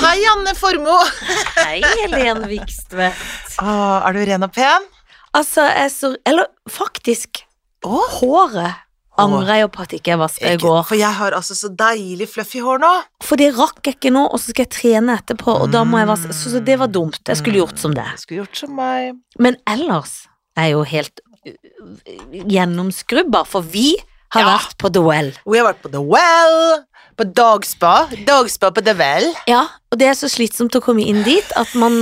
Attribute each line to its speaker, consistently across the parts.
Speaker 1: Hei, Anne Formoe.
Speaker 2: Hei, Helen Vikstvedt.
Speaker 1: Ah, er du ren og pen?
Speaker 2: Altså, jeg så Eller faktisk,
Speaker 1: Åh,
Speaker 2: håret angrer jeg jo på at ikke jeg vaska i
Speaker 1: ikke-
Speaker 2: går.
Speaker 1: For jeg har altså så deilig fluffy hår nå.
Speaker 2: For det rakk jeg ikke nå, og så skal jeg trene etterpå, og da må jeg vaske Så, så det var dumt. Jeg skulle gjort som det.
Speaker 1: Du skulle gjort som meg.
Speaker 2: Men ellers er jeg jo helt uh, gjennomskrubba, for vi har
Speaker 1: Ja.
Speaker 2: vært på duell.
Speaker 1: Og jeg har vært på The Well. På dagspa. Dagspa på The Well.
Speaker 2: Ja, og det er så slitsomt å komme inn dit at man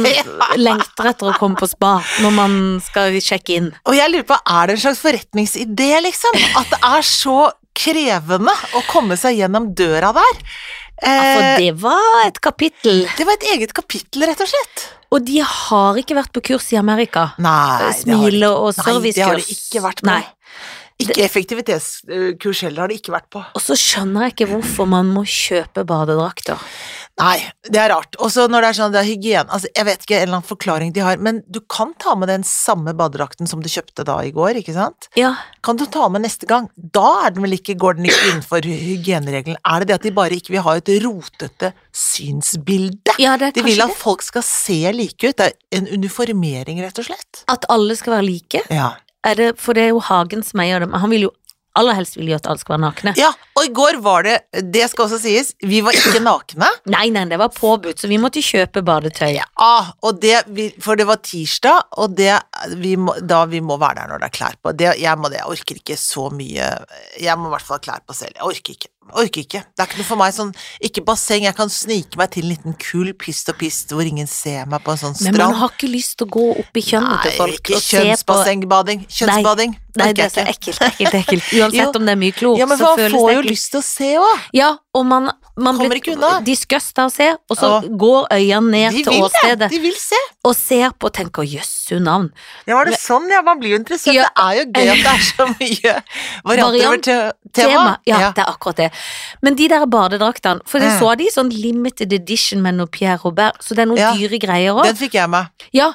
Speaker 2: lengter etter å komme på spa når man skal sjekke inn.
Speaker 1: Og jeg lurer på, er det en slags forretningsidé, liksom? At det er så krevende å komme seg gjennom døra der.
Speaker 2: Ja, for
Speaker 1: Eh,
Speaker 2: det var et kapittel.
Speaker 1: det var et eget kapittel, rett og slett.
Speaker 2: Og de har ikke vært på kurs i Amerika.
Speaker 1: Nei, det har det
Speaker 2: Smile-
Speaker 1: Nei,
Speaker 2: og
Speaker 1: det har det
Speaker 2: servicekurs.
Speaker 1: ikke vært på.
Speaker 2: Nei.
Speaker 1: Ikke effektivitetskurs heller har det ikke vært på.
Speaker 2: Og så skjønner jeg ikke hvorfor man må kjøpe badedrakter.
Speaker 1: Nei, det er rart. Og så når det er sånn, det er hygiene altså, Jeg vet ikke en eller annen forklaring de har, men du kan ta med den samme badedrakten som du kjøpte da i går, ikke sant?
Speaker 2: Ja,
Speaker 1: Kan du ta med neste gang? Da er den vel ikke, går den ikke innenfor hygieneregelen. Er det det at de bare ikke vil ha et rotete synsbilde?
Speaker 2: ja det er
Speaker 1: De vil
Speaker 2: kanskje
Speaker 1: at
Speaker 2: det.
Speaker 1: folk skal se like ut. Det er en uniformering, rett og slett.
Speaker 2: At alle skal være like.
Speaker 1: Ja.
Speaker 2: Er det, for det er jo Hagen som eier dem. Han vil jo aller helst vil jo at alle skal være nakne.
Speaker 1: ja, og i går var det Det skal også sies, vi var ikke nakne.
Speaker 2: Nei, nei, det var påbudt, så vi måtte kjøpe badetøy.
Speaker 1: Ah, og det, vi- for det var tirsdag, og det, vi må, da vi må være der når det er klær på. Det, jeg, må det, jeg orker ikke så mye Jeg må i hvert fall ha klær på selv. Jeg orker ikke. Orker ikke. Det er ikke noe for meg sånn Ikke basseng, jeg kan snike meg til en liten kul pist og pist hvor ingen ser meg på en sånn
Speaker 2: Men man
Speaker 1: strand.
Speaker 2: har ikke lyst til å gå opp i kjønnet til
Speaker 1: Nei,
Speaker 2: folk
Speaker 1: ikke
Speaker 2: og se på
Speaker 1: kjønnsbassengbading. Kjønnsbading
Speaker 2: Nei,
Speaker 1: orker
Speaker 2: det er
Speaker 1: jeg
Speaker 2: så
Speaker 1: ikke.
Speaker 2: ekkelt, ekkelt, ekkelt. Uansett
Speaker 1: Jo.
Speaker 2: om det er mye klor,
Speaker 1: Ja, men
Speaker 2: så
Speaker 1: man
Speaker 2: føles
Speaker 1: får
Speaker 2: det
Speaker 1: jo
Speaker 2: ekkelt.
Speaker 1: lyst til å se òg.
Speaker 2: Ja, og man, man
Speaker 1: Kommer
Speaker 2: blir
Speaker 1: ikke unna.
Speaker 2: disgust av å se, og så
Speaker 1: Ja.
Speaker 2: går øynene ned
Speaker 1: De
Speaker 2: til
Speaker 1: vil det.
Speaker 2: åstedet
Speaker 1: De vil se.
Speaker 2: og ser på og tenker 'jøss, hun navn'.
Speaker 1: Ja, var det sånn, ja. Man blir jo interessert.
Speaker 2: Ja.
Speaker 1: Det er jo gøy at det er så mye varianter over
Speaker 2: Variant,
Speaker 1: te tema.
Speaker 2: Tema. Ja, det er akkurat det. Men de der badedraktene, for jeg
Speaker 1: Mm.
Speaker 2: så de i sånn limited edition med noe Pierre Robert, så det er noen
Speaker 1: Ja.
Speaker 2: dyre greier òg.
Speaker 1: Den fikk jeg med.
Speaker 2: Ja,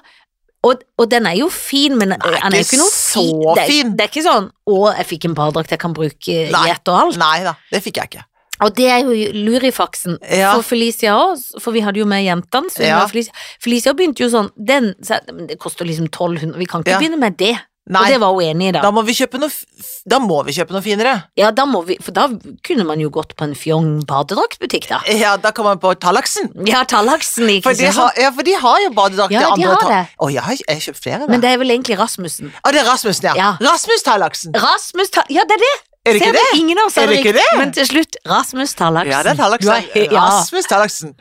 Speaker 2: og, og den er jo fin, men
Speaker 1: er
Speaker 2: den er jo
Speaker 1: ikke
Speaker 2: ikke noe
Speaker 1: så
Speaker 2: fi- Det er,
Speaker 1: fin.
Speaker 2: det er ikke sånn 'Å, jeg fikk en badedrakt jeg kan bruke i
Speaker 1: Nei.
Speaker 2: ett og alt'.
Speaker 1: Nei da, det fikk jeg ikke.
Speaker 2: Og det er jo lurifaksen
Speaker 1: Ja.
Speaker 2: for Felicia òg, for vi hadde jo med jentene. Så hun
Speaker 1: Ja.
Speaker 2: var Felicia. Felicia begynte jo sånn Den sa jeg, "Men det koster liksom 1200, vi kan ikke
Speaker 1: Ja.
Speaker 2: begynne med det.
Speaker 1: Nei,
Speaker 2: Og det var hun enig i, da.
Speaker 1: da må vi kjøpe noe f- f- Da må vi kjøpe noe finere.
Speaker 2: Ja, da må vi, for da kunne man jo gått på en fjong badedraktbutikk, da.
Speaker 1: Ja, da kan man på Tallaksen.
Speaker 2: Ja, Tallaksen i
Speaker 1: For de
Speaker 2: Kristiansand.
Speaker 1: har, ja, for de har jo badedrakt
Speaker 2: Ja, de har det.
Speaker 1: Å, jeg har jeg har kjøpt flere, da.
Speaker 2: Men det er vel egentlig Rasmussen.
Speaker 1: Å, det er Rasmussen, ja.
Speaker 2: Ja.
Speaker 1: Rasmus Tallaksen.
Speaker 2: Rasmus Ta... Ja, det er det!
Speaker 1: Er det
Speaker 2: Ser
Speaker 1: ikke
Speaker 2: du,
Speaker 1: det?
Speaker 2: Ingen av oss
Speaker 1: Er
Speaker 2: hadde
Speaker 1: det ikke
Speaker 2: riktig,
Speaker 1: det?
Speaker 2: Men til slutt, Rasmus Tallaksen.
Speaker 1: Ja, det er Tallaksen.
Speaker 2: Du er he- Ja,
Speaker 1: Rasmus Tallaksen.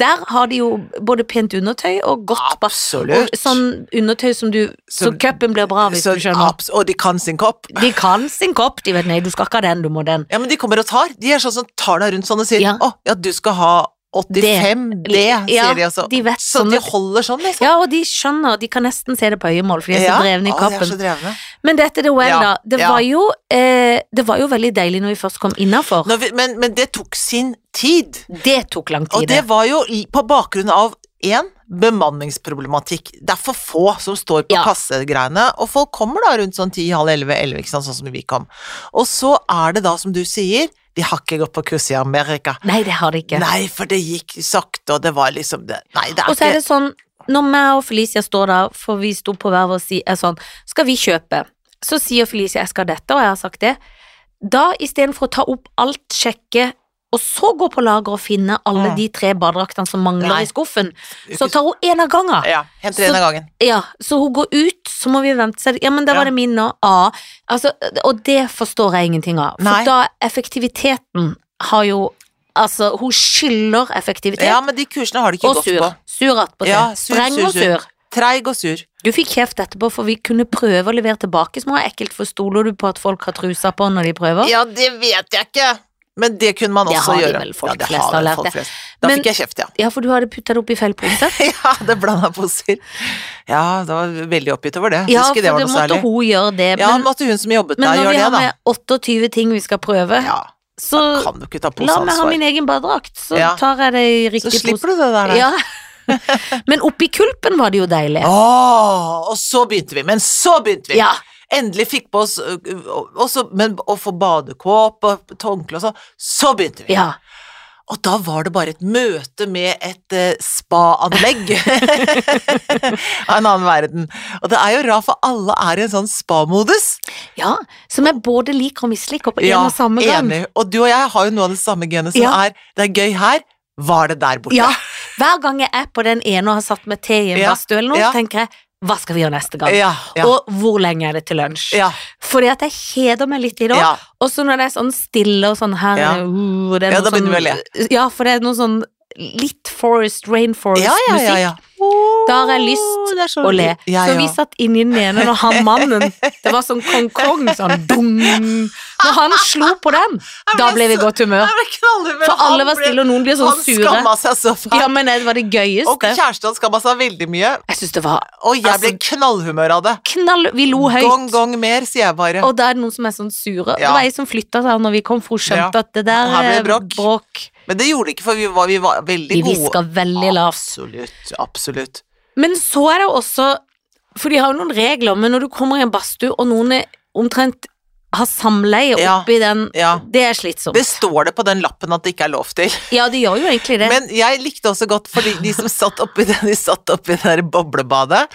Speaker 2: der har de jo både pent undertøy og godt bas-
Speaker 1: Absolutt.
Speaker 2: Og sånn undertøy som du Så,
Speaker 1: Som-
Speaker 2: cupen blir bra, hvis
Speaker 1: Så,
Speaker 2: du skjønner.
Speaker 1: abs- og de kan sin kopp.
Speaker 2: De kan sin kopp, de vet nei, du skal ikke ha den, du må den.
Speaker 1: Ja, men de kommer og tar. De er sånn som tar deg rundt sånn og sier
Speaker 2: Ja.
Speaker 1: 'Å, ja, du skal ha 85 D',
Speaker 2: Ja,
Speaker 1: sier de altså.
Speaker 2: de vet
Speaker 1: så
Speaker 2: sånn-
Speaker 1: de holder sånn, liksom.
Speaker 2: Ja, og de skjønner, de kan nesten se det på øyemål, for de er så drevne i
Speaker 1: Å, de er
Speaker 2: kappen.
Speaker 1: så drevne.
Speaker 2: Men dette The Well,
Speaker 1: Ja,
Speaker 2: da. Det,
Speaker 1: ja.
Speaker 2: var jo, eh, det var jo veldig deilig når vi først kom innafor.
Speaker 1: Når vi, men, men det tok sin tid.
Speaker 2: Det tok lang tid.
Speaker 1: Og det var jo i- på bakgrunn av én bemanningsproblematikk. Det er for få som står på
Speaker 2: Ja.
Speaker 1: kassegreiene, og folk kommer da rundt sånn ti, halv elleve, elleve, ikke sant, sånn som vi kom. Og så er det da, som du sier, de har ikke gått på kurs i Amerika.
Speaker 2: Nei, det har det ikke.
Speaker 1: Nei, for det gikk sakte, og det var liksom det Nei, det er
Speaker 2: Og så
Speaker 1: ikke
Speaker 2: er det sånn, når meg og Felicia står der, for vi sto på hver vår side, er sånn, skal vi kjøpe? Så sier Felicia, jeg skal ha dette, og jeg har sagt det. Da, istedenfor å ta opp alt, sjekke, og så gå på lager og finne alle
Speaker 1: Mm.
Speaker 2: de tre badedraktene som mangler
Speaker 1: Nei.
Speaker 2: i skuffen, så tar hun en av gangen.
Speaker 1: Ja, henter en
Speaker 2: Så-
Speaker 1: av gangen.
Speaker 2: Ja, så hun går ut, så må vi vente seg, ja, men der
Speaker 1: Ja.
Speaker 2: var det min nå, ja. Altså, og det forstår jeg ingenting av. For
Speaker 1: Nei.
Speaker 2: da, effektiviteten har jo, altså, hun skylder effektivitet.
Speaker 1: Ja, men de kursene har de ikke
Speaker 2: og
Speaker 1: gått
Speaker 2: sur.
Speaker 1: på.
Speaker 2: Sur attpåtil.
Speaker 1: Ja, sur,
Speaker 2: Streng
Speaker 1: sur,
Speaker 2: og
Speaker 1: sur.
Speaker 2: sur.
Speaker 1: Treig og sur.
Speaker 2: Du fikk kjeft etterpå, for vi kunne prøve å levere tilbake små ekkelt, for stoler du på at folk har trusa på når de prøver?
Speaker 1: Ja, det vet jeg ikke. Men det kunne man
Speaker 2: Det
Speaker 1: også
Speaker 2: har de
Speaker 1: gjøre.
Speaker 2: vel, folk
Speaker 1: ja, det
Speaker 2: flest
Speaker 1: har
Speaker 2: har
Speaker 1: vel
Speaker 2: lært
Speaker 1: folk
Speaker 2: det.
Speaker 1: flest. Da
Speaker 2: Men-
Speaker 1: fikk jeg kjeft, ja.
Speaker 2: Ja, for du hadde putta det oppi feil pose.
Speaker 1: Ja, det blanda poser. Ja, det var veldig oppgitt over det.
Speaker 2: Ja,
Speaker 1: Husker ikke
Speaker 2: for
Speaker 1: det var
Speaker 2: det
Speaker 1: noe
Speaker 2: måtte
Speaker 1: særlig.
Speaker 2: hun gjøre det,
Speaker 1: ja,
Speaker 2: men,
Speaker 1: måtte hun som jobbet der,
Speaker 2: men når vi
Speaker 1: gjøre det,
Speaker 2: har
Speaker 1: da.
Speaker 2: med 28 ting vi skal prøve,
Speaker 1: Ja,
Speaker 2: så
Speaker 1: kan du ikke ta
Speaker 2: la meg ha
Speaker 1: poseansvar.
Speaker 2: min egen badedrakt, så
Speaker 1: Ja.
Speaker 2: tar jeg det i
Speaker 1: Så
Speaker 2: riktig pose.
Speaker 1: slipper du det der, da.
Speaker 2: Ja. men oppi kulpen var det jo deilig.
Speaker 1: Åh, og så begynte vi. Men så begynte vi!
Speaker 2: Ja.
Speaker 1: Endelig fikk på oss øh, ø, ø, også, men, å få badekåp og håndkle og sånn. Så begynte vi.
Speaker 2: Ja.
Speaker 1: Og da var det bare et møte med et eh, spa-anlegg av en annen verden. Og det er jo rart, for alle er i en sånn spa-modus.
Speaker 2: Ja, som jeg både liker og misliker på en
Speaker 1: Ja,
Speaker 2: og samme gang.
Speaker 1: enig. Og du og jeg har jo noe av det samme genet som
Speaker 2: Ja.
Speaker 1: er det er gøy her, var det der borte.
Speaker 2: Ja, hver gang jeg er på den ene og har satt meg til i en
Speaker 1: Ja,
Speaker 2: badstue eller noe,
Speaker 1: ja.
Speaker 2: så tenker jeg hva skal vi gjøre neste gang?
Speaker 1: ja, ja,
Speaker 2: Og hvor lenge er det til lunsj?
Speaker 1: ja,
Speaker 2: Fordi at jeg kjeder meg litt i det òg.
Speaker 1: ja.
Speaker 2: Og så når det er sånn stille og sånn her
Speaker 1: Ja.
Speaker 2: uh, det er
Speaker 1: Ja, da
Speaker 2: noe
Speaker 1: begynner vi å
Speaker 2: sånn, Ja, for det er noe sånn litt forest, rainforest-musikk.
Speaker 1: Ja, ja, ja, ja.
Speaker 2: Da har jeg lyst
Speaker 1: Det er så-
Speaker 2: Å le.
Speaker 1: Ja,
Speaker 2: Så vi
Speaker 1: ja.
Speaker 2: satt inni den ene når han mannen Det var sånn Kong Kong, sånn dung. Når han slo på den, da ble vi i godt humør.
Speaker 1: Jeg ble knallhumør.
Speaker 2: For alle
Speaker 1: Han
Speaker 2: var
Speaker 1: ble-
Speaker 2: stille, og noen ble sånn
Speaker 1: Han
Speaker 2: sure.
Speaker 1: skamma seg så
Speaker 2: Ja,
Speaker 1: fælt.
Speaker 2: men det var det
Speaker 1: Og
Speaker 2: gøyeste.
Speaker 1: kjæresten hans skamma seg veldig mye.
Speaker 2: Jeg syns det var
Speaker 1: Og jeg ble knallhumør av det.
Speaker 2: knall Vi lo
Speaker 1: Gong,
Speaker 2: høyt.
Speaker 1: gong mer, sier jeg bare.
Speaker 2: Og da er det noen som er sånn sure. Det
Speaker 1: Ja.
Speaker 2: var ei som flytta seg når vi kom, for hun skjønte at det der
Speaker 1: Her ble det
Speaker 2: eh,
Speaker 1: bråk.
Speaker 2: bråk.
Speaker 1: Men det gjorde ikke, for vi var, vi var veldig
Speaker 2: Vi
Speaker 1: gode.
Speaker 2: hviska veldig lavt.
Speaker 1: Absolutt, absolutt.
Speaker 2: Men så er det jo også For de har jo noen regler, men når du kommer i en badstue, og noen er omtrent har samleie
Speaker 1: Ja,
Speaker 2: oppi den
Speaker 1: ja.
Speaker 2: Det er slitsomt.
Speaker 1: Det står det på den lappen at det ikke er lov til.
Speaker 2: Ja, det gjør jo egentlig det.
Speaker 1: Men jeg likte også godt for de, de som satt oppi det, de satt oppi det der boblebadet.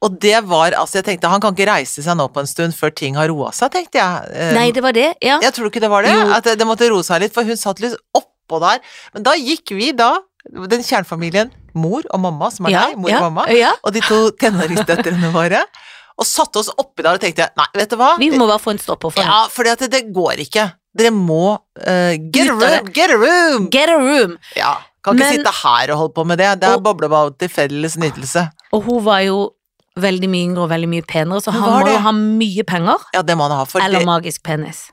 Speaker 1: Og det var, altså jeg tenkte, han kan ikke reise seg nå på en stund før ting har roa seg, tenkte jeg. Eh,
Speaker 2: Nei, det var det. Ja.
Speaker 1: Jeg tror ikke det var det,
Speaker 2: Jo.
Speaker 1: at det, det måtte roe seg litt, for hun satt litt oppå der. Men da gikk vi da, den kjernfamilien, mor og mamma, som er
Speaker 2: ja,
Speaker 1: deg, mor
Speaker 2: ja,
Speaker 1: og mamma,
Speaker 2: ja.
Speaker 1: og de to tenåringsdøtrene våre, og satte oss oppi der og tenkte, nei, vet du hva?
Speaker 2: Vi må bare få en stopper for det.
Speaker 1: Ja, fordi at det, det går ikke. Dere må eh, get, a
Speaker 2: Ut av
Speaker 1: room, get a room!
Speaker 2: Get a room!
Speaker 1: Ja, kan ikke
Speaker 2: Men-
Speaker 1: sitte her og holde på med det. Det er
Speaker 2: Og-
Speaker 1: boblebad til felles nytelse.
Speaker 2: Og hun var jo veldig mye yngre og veldig mye penere, så
Speaker 1: Hun
Speaker 2: han
Speaker 1: var
Speaker 2: må
Speaker 1: det.
Speaker 2: jo ha mye penger.
Speaker 1: Ja, det må han ha for
Speaker 2: Eller
Speaker 1: det.
Speaker 2: magisk penis.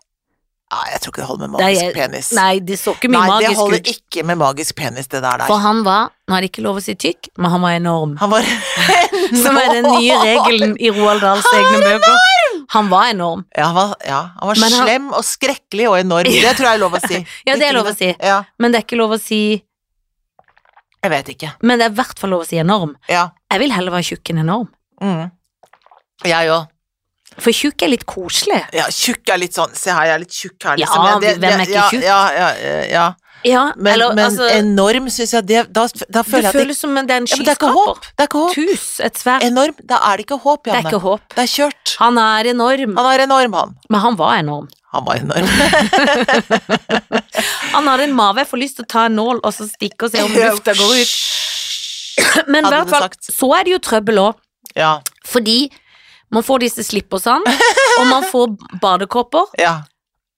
Speaker 1: Nei, jeg tror ikke det holder med
Speaker 2: Nei,
Speaker 1: magisk
Speaker 2: jeg-
Speaker 1: penis.
Speaker 2: Nei, det så ikke mye
Speaker 1: Nei, det
Speaker 2: magisk
Speaker 1: holder
Speaker 2: ut.
Speaker 1: ikke med magisk penis, det der. der.
Speaker 2: For han var Nå er det ikke lov å si tykk, men han var enorm.
Speaker 1: Han var
Speaker 2: Som er den nye regelen i Roald Dahls egne bøker. Han var enorm.
Speaker 1: Ja, han var, ja, han var
Speaker 2: Men han-
Speaker 1: slem og skrekkelig og enorm. Det tror jeg er lov å si.
Speaker 2: Ja, det er lov å si.
Speaker 1: Ja,
Speaker 2: Men det er ikke lov å si
Speaker 1: jeg vet ikke.
Speaker 2: Men det er i hvert fall lov å si enorm.
Speaker 1: Ja.
Speaker 2: Jeg vil heller være tjukk enn enorm.
Speaker 1: Mm. Jeg òg.
Speaker 2: For tjukk er litt koselig.
Speaker 1: Ja, tjukk er litt sånn Se her, jeg er litt tjukk her,
Speaker 2: Ja,
Speaker 1: liksom.
Speaker 2: hvem er ikke
Speaker 1: ja,
Speaker 2: tjukk?
Speaker 1: Ja, ja, ja, ja.
Speaker 2: Ja,
Speaker 1: Men,
Speaker 2: eller
Speaker 1: men
Speaker 2: altså
Speaker 1: enorm syns jeg det, Da, da føler jeg
Speaker 2: Det
Speaker 1: at det,
Speaker 2: føles som en- det er en
Speaker 1: ja, men det er ikke
Speaker 2: skyskraper.
Speaker 1: håp. Det er ikke håp.
Speaker 2: Tus, et svært
Speaker 1: Enorm, da er det ikke håp,
Speaker 2: Det er
Speaker 1: Janne.
Speaker 2: ikke håp.
Speaker 1: Det er kjørt.
Speaker 2: Han er enorm.
Speaker 1: Han er enorm, han.
Speaker 2: Men han var enorm.
Speaker 1: Han var enorm.
Speaker 2: Han hadde en mave. Jeg får lyst til å ta en nål og så stikke og se om lufta går ut. Men i
Speaker 1: Hadde
Speaker 2: hvert
Speaker 1: du
Speaker 2: fall,
Speaker 1: sagt.
Speaker 2: så er det jo trøbbel òg.
Speaker 1: Ja,
Speaker 2: Fordi man får disse slippersene, og man får badekåper.
Speaker 1: ja.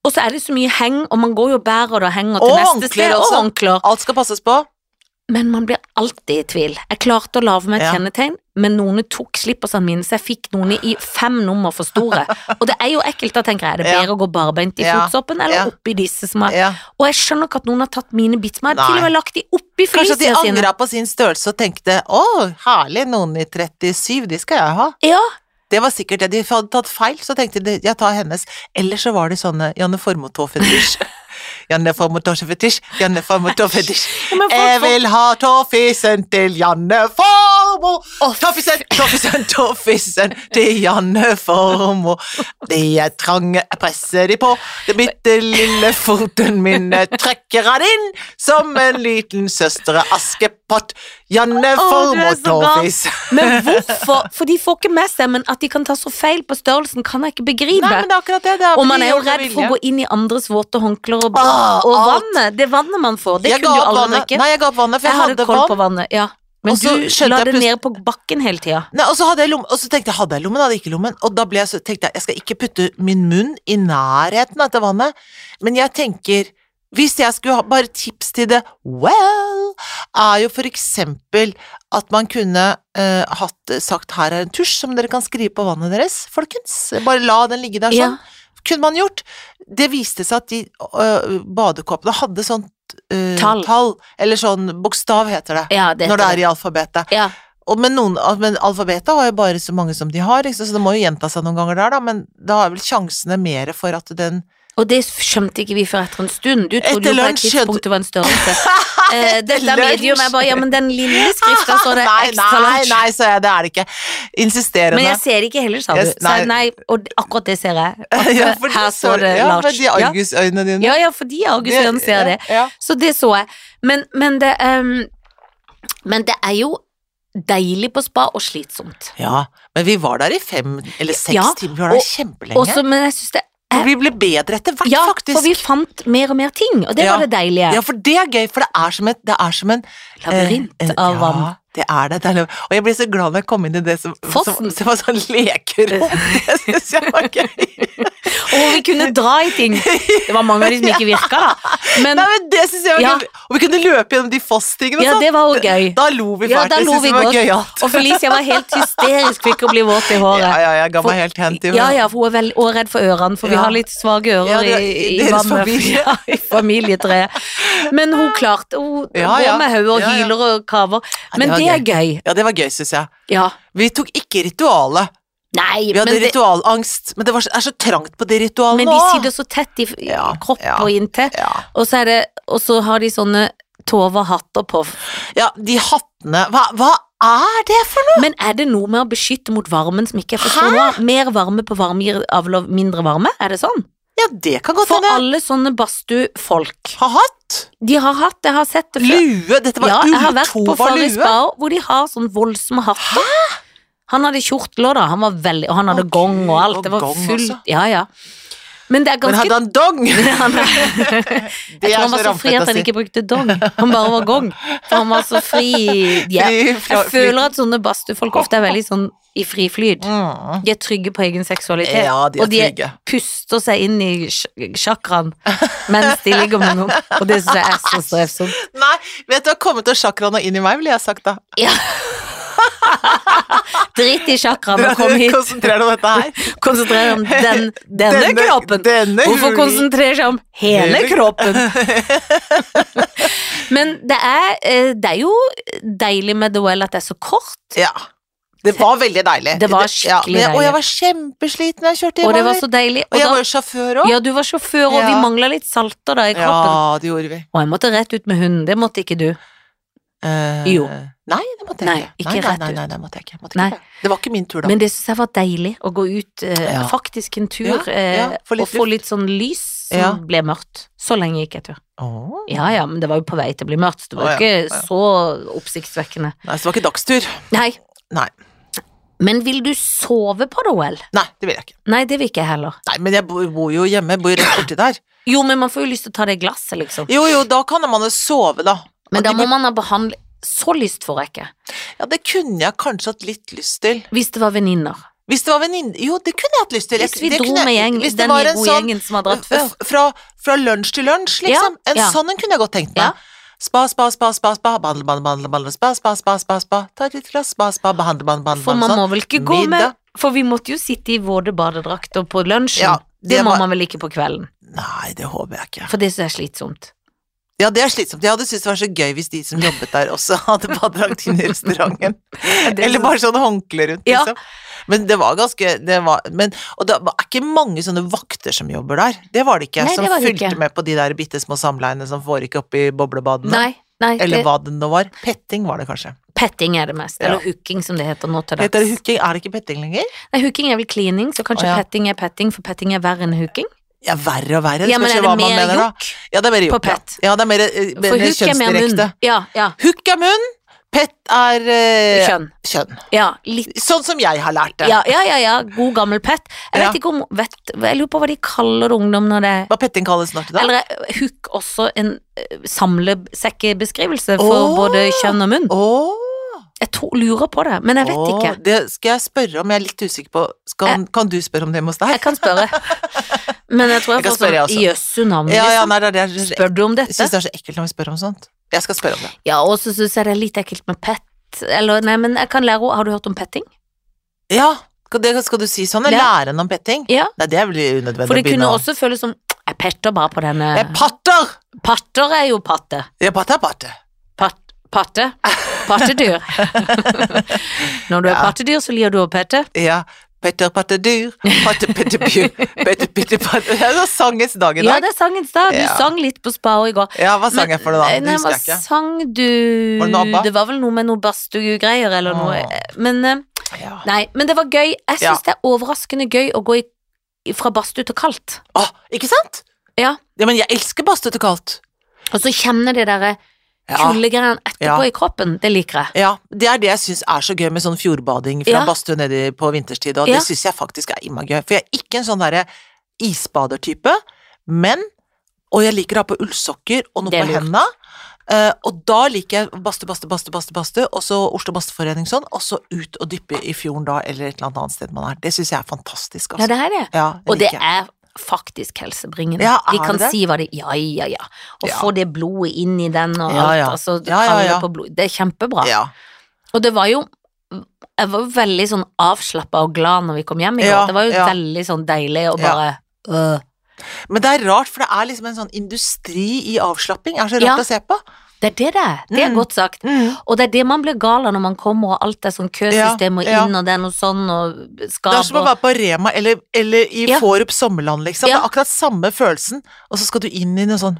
Speaker 2: Og så er det så mye heng, og man går jo og bærer det og henger til
Speaker 1: Og
Speaker 2: neste
Speaker 1: håndklær
Speaker 2: sted. Og
Speaker 1: også.
Speaker 2: håndklær.
Speaker 1: Alt skal passes på.
Speaker 2: Men man blir alltid i tvil. Jeg klarte å lage meg et
Speaker 1: Ja.
Speaker 2: kjennetegn, men noen tok slippersene mine, så jeg fikk noen i fem nummer for store. Og det er jo ekkelt, da tenker jeg. Er det
Speaker 1: Ja.
Speaker 2: bedre å gå barbeint i
Speaker 1: Ja.
Speaker 2: fotsoppen,
Speaker 1: Ja.
Speaker 2: eller oppi disse som er
Speaker 1: Ja.
Speaker 2: Og jeg skjønner ikke at noen har tatt mine bits, men jeg har til
Speaker 1: Nei.
Speaker 2: og med lagt de oppi
Speaker 1: Kanskje at de
Speaker 2: flisene sine.
Speaker 1: angra på sin størrelse og tenkte 'Å, herlig, noen i 37, de skal jeg ha'.
Speaker 2: Ja,
Speaker 1: Det var sikkert det. De hadde tatt feil, så tenkte de 'jeg tar hennes'. Eller så var det sånne Janne Formoe-tåfetisj. Janne Formoe tåfetisj, Janne Formoe tåfetisj.
Speaker 2: Ja, men folk-
Speaker 1: Jeg vil ha tåfisen til Janne Formoe! Tåfisen, tåfisen, tåfisen til Janne Formoe. De er trange, jeg presser de på. Det bitte lille foten min jeg trekker han inn som en liten søster av Askepott. Janne
Speaker 2: Å, du er
Speaker 1: Formoe
Speaker 2: så gal.
Speaker 1: tåfis.
Speaker 2: Men hvorfor? For de får ikke med seg, men at de kan ta så feil på størrelsen, kan jeg ikke
Speaker 1: Nei,
Speaker 2: begripe.
Speaker 1: men det er akkurat det. det
Speaker 2: og man er jo
Speaker 1: gjort med
Speaker 2: redd for å
Speaker 1: vilje.
Speaker 2: gå inn i andres våte håndklær og,
Speaker 1: Ah,
Speaker 2: og
Speaker 1: alt.
Speaker 2: vannet. Det vannet man får, det
Speaker 1: Jeg ga
Speaker 2: kunne du
Speaker 1: opp
Speaker 2: aldri
Speaker 1: vannet.
Speaker 2: drikke.
Speaker 1: Nei, jeg ga opp vannet, for
Speaker 2: jeg
Speaker 1: Altså, jeg
Speaker 2: hadde
Speaker 1: hadde
Speaker 2: koll
Speaker 1: vann.
Speaker 2: på vannet, ja. Men
Speaker 1: Og så
Speaker 2: du
Speaker 1: skjønte
Speaker 2: la
Speaker 1: jeg
Speaker 2: det
Speaker 1: plutselig-
Speaker 2: ned på bakken hele tida.
Speaker 1: Nei, og så hadde jeg lommen, og så tenkte jeg hadde jeg lommen, hadde jeg ikke lommen. Og da ble jeg så, tenkte jeg jeg skal ikke putte min munn i nærheten av dette vannet, men jeg tenker hvis jeg skulle ha bare tips til det, well, er jo for eksempel at man kunne eh, hatt, sagt her er en tusj som dere kan skrive på vannet deres, folkens. Bare la den ligge der
Speaker 2: Ja.
Speaker 1: sånn. Kunne man gjort. Det viste seg at de øh, badekåpene hadde sånt øh,
Speaker 2: Tall.
Speaker 1: tall, eller sånn bokstav heter det,
Speaker 2: Ja, det
Speaker 1: når det
Speaker 2: heter
Speaker 1: er i alfabetet.
Speaker 2: det. Ja.
Speaker 1: Og, men, noen, al- men alfabetet har jo bare så mange som de har, liksom, så det må jo gjenta seg noen ganger der, da. Men da er vel sjansene mer for at den
Speaker 2: Og det skjønte ikke vi før etter en stund. Du
Speaker 1: Etter
Speaker 2: trodde jo på et
Speaker 1: lunsj,
Speaker 2: tidspunkt det var en størrelse. Eh, Dette
Speaker 1: lunsj.
Speaker 2: medium er bare Ja, men den lille skrifta så det
Speaker 1: nei,
Speaker 2: ekstra
Speaker 1: nei,
Speaker 2: lunsj.
Speaker 1: nei, så er det er det ikke. Insisterende.
Speaker 2: Men jeg ser det ikke heller, sa du.
Speaker 1: Jeg-
Speaker 2: Sa
Speaker 1: nei.
Speaker 2: jeg, nei, og d- akkurat det ser jeg. At,
Speaker 1: Ja, for
Speaker 2: her
Speaker 1: du
Speaker 2: står det
Speaker 1: ja,
Speaker 2: Lars.
Speaker 1: med de
Speaker 2: Ja.
Speaker 1: argusøynene dine.
Speaker 2: Ja, ja, fordi Argusøyen ser det.
Speaker 1: Ja, ja.
Speaker 2: Så det så jeg. Men, men, det, ehm, men det er jo deilig på spa og slitsomt.
Speaker 1: Ja, men vi var der i fem eller seks
Speaker 2: Ja,
Speaker 1: timer, vi var der
Speaker 2: og-
Speaker 1: kjempelenge.
Speaker 2: Også, men jeg synes det
Speaker 1: og vi ble bedre etter hvert,
Speaker 2: Ja,
Speaker 1: faktisk.
Speaker 2: for vi fant mer og mer ting, og det
Speaker 1: Ja.
Speaker 2: var det deilige.
Speaker 1: Ja, for det er gøy, for det er som, et, det er som en
Speaker 2: Labyrint
Speaker 1: eh, en-
Speaker 2: av vann.
Speaker 1: Ja, det er det. det er, lov. og jeg ble så glad når jeg kom inn i det som, som,
Speaker 2: Fossen.
Speaker 1: som var sånn lekerom. Det syns jeg var gøy.
Speaker 2: Og hvor vi kunne dra i ting. Det var mange av de som ikke virka, da. Men
Speaker 1: Nei, men det synes jeg var
Speaker 2: Ja.
Speaker 1: gøy. Og vi kunne løpe gjennom de fosstingene
Speaker 2: ja,
Speaker 1: og
Speaker 2: det
Speaker 1: sånn.
Speaker 2: var jo gøy.
Speaker 1: Da lo vi
Speaker 2: Ja,
Speaker 1: faktisk.
Speaker 2: da lo
Speaker 1: synes
Speaker 2: vi
Speaker 1: det var
Speaker 2: godt.
Speaker 1: gøyalt.
Speaker 2: Og Felicia var helt hysterisk fikk å bli våt i håret.
Speaker 1: Ja, ja, jeg ga
Speaker 2: For-
Speaker 1: meg helt hen til
Speaker 2: Ja, ja, for hun er veldig og redd for ørene, for vi
Speaker 1: Ja.
Speaker 2: har litt svake ører
Speaker 1: Ja, det er-
Speaker 2: i, i
Speaker 1: deres
Speaker 2: vannet.
Speaker 1: familie.
Speaker 2: Ja, i familietreet. Men hun klarte, hun
Speaker 1: Ja,
Speaker 2: går
Speaker 1: ja.
Speaker 2: med hodet og
Speaker 1: Ja, ja.
Speaker 2: hyler og kaver. Men
Speaker 1: var
Speaker 2: det, er gøy.
Speaker 1: Ja, det var gøy, synes jeg.
Speaker 2: Ja.
Speaker 1: Vi tok ikke ritualet.
Speaker 2: Nei,
Speaker 1: Vi hadde
Speaker 2: men, det,
Speaker 1: ritualangst, men det var, så- er så trangt på det ritualet
Speaker 2: men
Speaker 1: nå.
Speaker 2: de sitter så tett i f- i
Speaker 1: Ja,
Speaker 2: kropp
Speaker 1: ja.
Speaker 2: og inntil,
Speaker 1: ja.
Speaker 2: og så, er det, og så har de sånne Tova-hatter på.
Speaker 1: ja, de hattene hva, hva er det for noe?
Speaker 2: Men er det noe med å beskytte mot varmen som ikke jeg forstår
Speaker 1: Hæ?
Speaker 2: noe av? Mer varme på varme gir avl av mindre varme? Er det sånn?
Speaker 1: Ja, det kan godt
Speaker 2: For
Speaker 1: hende.
Speaker 2: alle sånne badstuefolk.
Speaker 1: Ha hatt,
Speaker 2: De har hatt, jeg har sett det før.
Speaker 1: lue Dette var
Speaker 2: ja, jeg har vært på
Speaker 1: ulltova
Speaker 2: Farris
Speaker 1: lue.
Speaker 2: Bar hvor de har sånn voldsomme hatter. Han hadde kjortel òg, da. Han var veldig, og han hadde
Speaker 1: Å,
Speaker 2: gong og
Speaker 1: Gud,
Speaker 2: alt.
Speaker 1: og
Speaker 2: Det var
Speaker 1: gong
Speaker 2: fullt.
Speaker 1: også.
Speaker 2: Ja, ja. Men det er
Speaker 1: Men
Speaker 2: ganske
Speaker 1: hadde han dong?
Speaker 2: han, Jeg
Speaker 1: er
Speaker 2: tror han
Speaker 1: så
Speaker 2: var så fri
Speaker 1: rampete å
Speaker 2: at han
Speaker 1: si.
Speaker 2: ikke brukte dong. Han bare var gong. For han var så fri ja.
Speaker 1: Fri fra-
Speaker 2: Jeg føler at sånne badstuefolk ofte er veldig sånn i fri flyt.
Speaker 1: Mm.
Speaker 2: De er trygge på egen seksualitet.
Speaker 1: Ja, de er
Speaker 2: og de
Speaker 1: trygge.
Speaker 2: puster seg inn i sj- sjakraen mens de ligger med noen. Og det syns jeg er så strevsomt.
Speaker 1: Nei, vet du hva kommet til chakraene inn i meg, ville jeg sagt da.
Speaker 2: Ja. Drit i sjakraen og kom hit.
Speaker 1: Konsentrer deg om dette her.
Speaker 2: Konsentrer deg om den, denne, kroppen.
Speaker 1: Denne
Speaker 2: Hvorfor
Speaker 1: hulen.
Speaker 2: konsentrer seg om hele
Speaker 1: Hele
Speaker 2: kroppen? Men det er, eh, det er jo deilig med The Well at det er så kort.
Speaker 1: Ja. Det var veldig deilig.
Speaker 2: Det
Speaker 1: ja, men
Speaker 2: var
Speaker 1: jeg,
Speaker 2: skikkelig
Speaker 1: Og jeg var kjempesliten da jeg kjørte
Speaker 2: Og det
Speaker 1: hjemover.
Speaker 2: var så deilig.
Speaker 1: Og
Speaker 2: Og
Speaker 1: jeg
Speaker 2: da,
Speaker 1: var jo sjåfør òg.
Speaker 2: ja, du var sjåfør, og vi
Speaker 1: Ja.
Speaker 2: mangla litt salter da i
Speaker 1: Ja,
Speaker 2: kroppen.
Speaker 1: det gjorde vi.
Speaker 2: Og jeg måtte rett ut med hunden. Det måtte ikke du.
Speaker 1: Eh,
Speaker 2: Jo.
Speaker 1: Nei, det måtte jeg
Speaker 2: Nei,
Speaker 1: ikke.
Speaker 2: ikke
Speaker 1: nei,
Speaker 2: rett
Speaker 1: nei,
Speaker 2: ut.
Speaker 1: nei, nei, måtte jeg ikke. Måtte
Speaker 2: Nei.
Speaker 1: ikke. det. Det var ikke min tur, da.
Speaker 2: Men det syns jeg var deilig å gå ut, eh,
Speaker 1: Ja.
Speaker 2: faktisk en tur,
Speaker 1: Ja, ja,
Speaker 2: eh,
Speaker 1: få litt
Speaker 2: og få
Speaker 1: luft.
Speaker 2: litt sånn lys som
Speaker 1: Ja.
Speaker 2: ble mørkt. Så lenge gikk jeg tur.
Speaker 1: Åh.
Speaker 2: Ja ja, men det var jo på vei til å bli mørkt, så det var
Speaker 1: Å,
Speaker 2: jo
Speaker 1: ja,
Speaker 2: ikke
Speaker 1: ja.
Speaker 2: så oppsiktsvekkende.
Speaker 1: Nei, så det var ikke dagstur.
Speaker 2: Nei.
Speaker 1: Nei.
Speaker 2: Men vil du sove på det, OL?
Speaker 1: Nei, det vil jeg ikke.
Speaker 2: Nei, det vil ikke jeg heller.
Speaker 1: Nei, Men jeg bor, bor jo hjemme, jeg bor rett borti der.
Speaker 2: Jo, men man får jo lyst til å ta det glasset, liksom.
Speaker 1: Jo jo, da kan man jo sove, da.
Speaker 2: Men
Speaker 1: At
Speaker 2: da
Speaker 1: de
Speaker 2: må man ha behandling Så lyst får jeg ikke.
Speaker 1: Ja, det kunne jeg kanskje hatt litt lyst til.
Speaker 2: Hvis det var venninner.
Speaker 1: Hvis det var venninne Jo, det kunne jeg hatt lyst til. Jeg-
Speaker 2: Hvis vi
Speaker 1: det
Speaker 2: dro
Speaker 1: kunne jeg-
Speaker 2: med gjeng,
Speaker 1: hvis det
Speaker 2: den
Speaker 1: var en
Speaker 2: gode
Speaker 1: sånn-
Speaker 2: gjengen som har dratt før.
Speaker 1: F- Fra, fra lunsj til lunsj, liksom.
Speaker 2: Ja,
Speaker 1: en
Speaker 2: ja.
Speaker 1: sånn en kunne jeg godt tenkt meg.
Speaker 2: Ja.
Speaker 1: Spa, spa, spa, spa, spa, behandle, behandle, behandle, behandle, spa, spa, spa, spa, spa, ta et lite glass, spa, spa, behandle, behandle, behandle,
Speaker 2: For man
Speaker 1: behandle,
Speaker 2: må vel ikke
Speaker 1: sånn.
Speaker 2: gå
Speaker 1: Middag.
Speaker 2: med For vi måtte jo sitte i våte badedrakter på lunsjen.
Speaker 1: Ja,
Speaker 2: det,
Speaker 1: det
Speaker 2: må
Speaker 1: var-
Speaker 2: man vel ikke på kvelden.
Speaker 1: sånn. Nei, det håper jeg ikke.
Speaker 2: For det syns jeg er slitsomt.
Speaker 1: Ja, det er slitsomt. Jeg hadde syntes det var så gøy hvis de som jobbet der også hadde badedrakt inne i restauranten. Eller bare sånn håndkle rundt,
Speaker 2: Ja.
Speaker 1: liksom. Men det var ganske det var, men, Og det er ikke mange sånne vakter som jobber der. Det var det ikke.
Speaker 2: Nei,
Speaker 1: som
Speaker 2: det var det
Speaker 1: fulgte
Speaker 2: ikke.
Speaker 1: med på de der bitte små samleiene som foregikk oppe i boblebadene.
Speaker 2: Nei, nei
Speaker 1: Eller
Speaker 2: det,
Speaker 1: hva det nå var. Petting var det kanskje.
Speaker 2: petting er det mest.
Speaker 1: Ja.
Speaker 2: Eller hooking, som det heter nå til
Speaker 1: Heter det
Speaker 2: dags.
Speaker 1: hooking? Er det ikke petting lenger?
Speaker 2: Nei, hooking er vel cleaning, så kanskje
Speaker 1: Å, ja.
Speaker 2: petting er petting, for petting er verre enn hooking.
Speaker 1: Ja, verre og verre. Det
Speaker 2: Ja, men
Speaker 1: spørs jo
Speaker 2: er
Speaker 1: hva
Speaker 2: det
Speaker 1: man
Speaker 2: mer
Speaker 1: mener, da.
Speaker 2: jokk?
Speaker 1: Ja, det er mer
Speaker 2: på
Speaker 1: jokk. ja.
Speaker 2: pett?
Speaker 1: Ja, det er mer, eh,
Speaker 2: For
Speaker 1: mer
Speaker 2: hook er mer munn.
Speaker 1: kjønnsdirekte.
Speaker 2: Ja, ja.
Speaker 1: Hook er munn, pett er eh,
Speaker 2: Kjønn.
Speaker 1: kjønn.
Speaker 2: Ja, litt
Speaker 1: Sånn som jeg har lært det.
Speaker 2: ja, ja, ja, ja, god gammel pett. Jeg
Speaker 1: Ja.
Speaker 2: vet ikke om vet, Jeg lurer på hva de kaller ungdom når det
Speaker 1: Hva petting kalles snart i dag?
Speaker 2: Eller er hook også en eh, samlesekkebeskrivelse for
Speaker 1: Åh!
Speaker 2: både kjønn og munn?
Speaker 1: Åh,
Speaker 2: Jeg tror, lurer på det, men jeg vet
Speaker 1: åh,
Speaker 2: ikke. Eh.
Speaker 1: Det skal jeg spørre om, jeg er litt usikker på skal, Kan du spørre om det hos deg?
Speaker 2: Jeg kan spørre. Men jeg tror jeg,
Speaker 1: Jeg kan
Speaker 2: får
Speaker 1: spørre, jeg
Speaker 2: sånn
Speaker 1: også.
Speaker 2: jøssu navn,
Speaker 1: ja, ja,
Speaker 2: liksom.
Speaker 1: nei, det er det. Jeg,
Speaker 2: Spør du om
Speaker 1: jeg
Speaker 2: dette?
Speaker 1: syns det er så ekkelt når vi spør om sånt. Jeg skal spørre om det.
Speaker 2: Ja, og så syns jeg det er litt ekkelt med pett. Eller, nei, men jeg kan lære henne Har du hørt om petting?
Speaker 1: Ja, skal, det, skal du si sånn?
Speaker 2: Ja.
Speaker 1: Lære henne om petting?
Speaker 2: Ja.
Speaker 1: Nei, det blir unødvendig
Speaker 2: For det
Speaker 1: å begynne
Speaker 2: kunne
Speaker 1: å-
Speaker 2: også føles som Jeg petter bare på denne
Speaker 1: Jeg patter!
Speaker 2: Patter er jo patte.
Speaker 1: Jeg patter, patter.
Speaker 2: Pat, patte. Pattedyr. Når du er
Speaker 1: Ja.
Speaker 2: pattedyr, så liker du å pette.
Speaker 1: Ja, Petter pattedyr, patte pattebyr, pette pitte patte Det er jo sangens dag i
Speaker 2: Ja,
Speaker 1: dag.
Speaker 2: det er sangens dag. Du
Speaker 1: Ja.
Speaker 2: sang litt på spa i går.
Speaker 1: Ja, hva sang jeg for det da? Det
Speaker 2: eh, Nei,
Speaker 1: husker
Speaker 2: hva
Speaker 1: jeg ikke.
Speaker 2: sang du
Speaker 1: Var det noe ABBA?
Speaker 2: Det var vel noe med noe badstuegreier eller noe.
Speaker 1: Åh.
Speaker 2: eh, Men, eh,
Speaker 1: Ja.
Speaker 2: nei, men det var gøy. Jeg
Speaker 1: Ja.
Speaker 2: syns det er overraskende gøy å gå i, fra badstue til kaldt.
Speaker 1: Åh, Ah, ikke sant?
Speaker 2: Ja.
Speaker 1: ja men jeg elsker badstue til kaldt.
Speaker 2: Og så kjenner det derre
Speaker 1: Ja.
Speaker 2: kuldegreiene etterpå
Speaker 1: Ja.
Speaker 2: i kroppen. Det liker jeg.
Speaker 1: Ja, Det er det jeg syns er så gøy med sånn fjordbading fra
Speaker 2: Ja.
Speaker 1: badstue nedi på vinterstid, og
Speaker 2: Ja.
Speaker 1: det syns jeg faktisk er imma gøy. For jeg er ikke en sånn derre isbadertype, men Og jeg liker å ha på ullsokker og noe
Speaker 2: Det er
Speaker 1: på
Speaker 2: lurt.
Speaker 1: henda. eh, og da liker jeg badstue, badstue, badstue, badstue, badstue, og så Oslo Badstueforening sånn, og så ut og dyppe i fjorden da, eller et eller annet annet sted man er. Det syns jeg er fantastisk,
Speaker 2: Ja,
Speaker 1: altså.
Speaker 2: det er det.
Speaker 1: Ja,
Speaker 2: Og det
Speaker 1: liker jeg.
Speaker 2: er faktisk helsebringende.
Speaker 1: Ja,
Speaker 2: de
Speaker 1: er
Speaker 2: kan
Speaker 1: det det?
Speaker 2: si hva de Ja, ja, ja. Og
Speaker 1: Ja.
Speaker 2: få det blodet inn i den og
Speaker 1: Ja, ja.
Speaker 2: alt. Altså,
Speaker 1: Ja, ja,
Speaker 2: kalle
Speaker 1: ja.
Speaker 2: På blod. Det er kjempebra.
Speaker 1: Ja.
Speaker 2: Og det var jo Jeg var jo veldig sånn avslappa og glad når vi kom hjem i går.
Speaker 1: Ja,
Speaker 2: det var jo
Speaker 1: ja.
Speaker 2: veldig sånn deilig å
Speaker 1: Ja.
Speaker 2: bare øh.
Speaker 1: Men det er rart, for det er liksom en sånn industri i avslapping. Det er så rart
Speaker 2: Ja.
Speaker 1: å se på.
Speaker 2: Det er det det er. Det er
Speaker 1: Mm.
Speaker 2: godt sagt. Og det er det man blir gal av når man kommer, og alt er sånn køsystem og
Speaker 1: Ja, ja.
Speaker 2: inn, og det er noe sånn, og skap
Speaker 1: Det er som å
Speaker 2: og-
Speaker 1: være på Rema eller, eller i
Speaker 2: Ja.
Speaker 1: Fårup Sommerland, liksom.
Speaker 2: Ja.
Speaker 1: Det er akkurat samme følelsen, og så skal du inn i noe sånn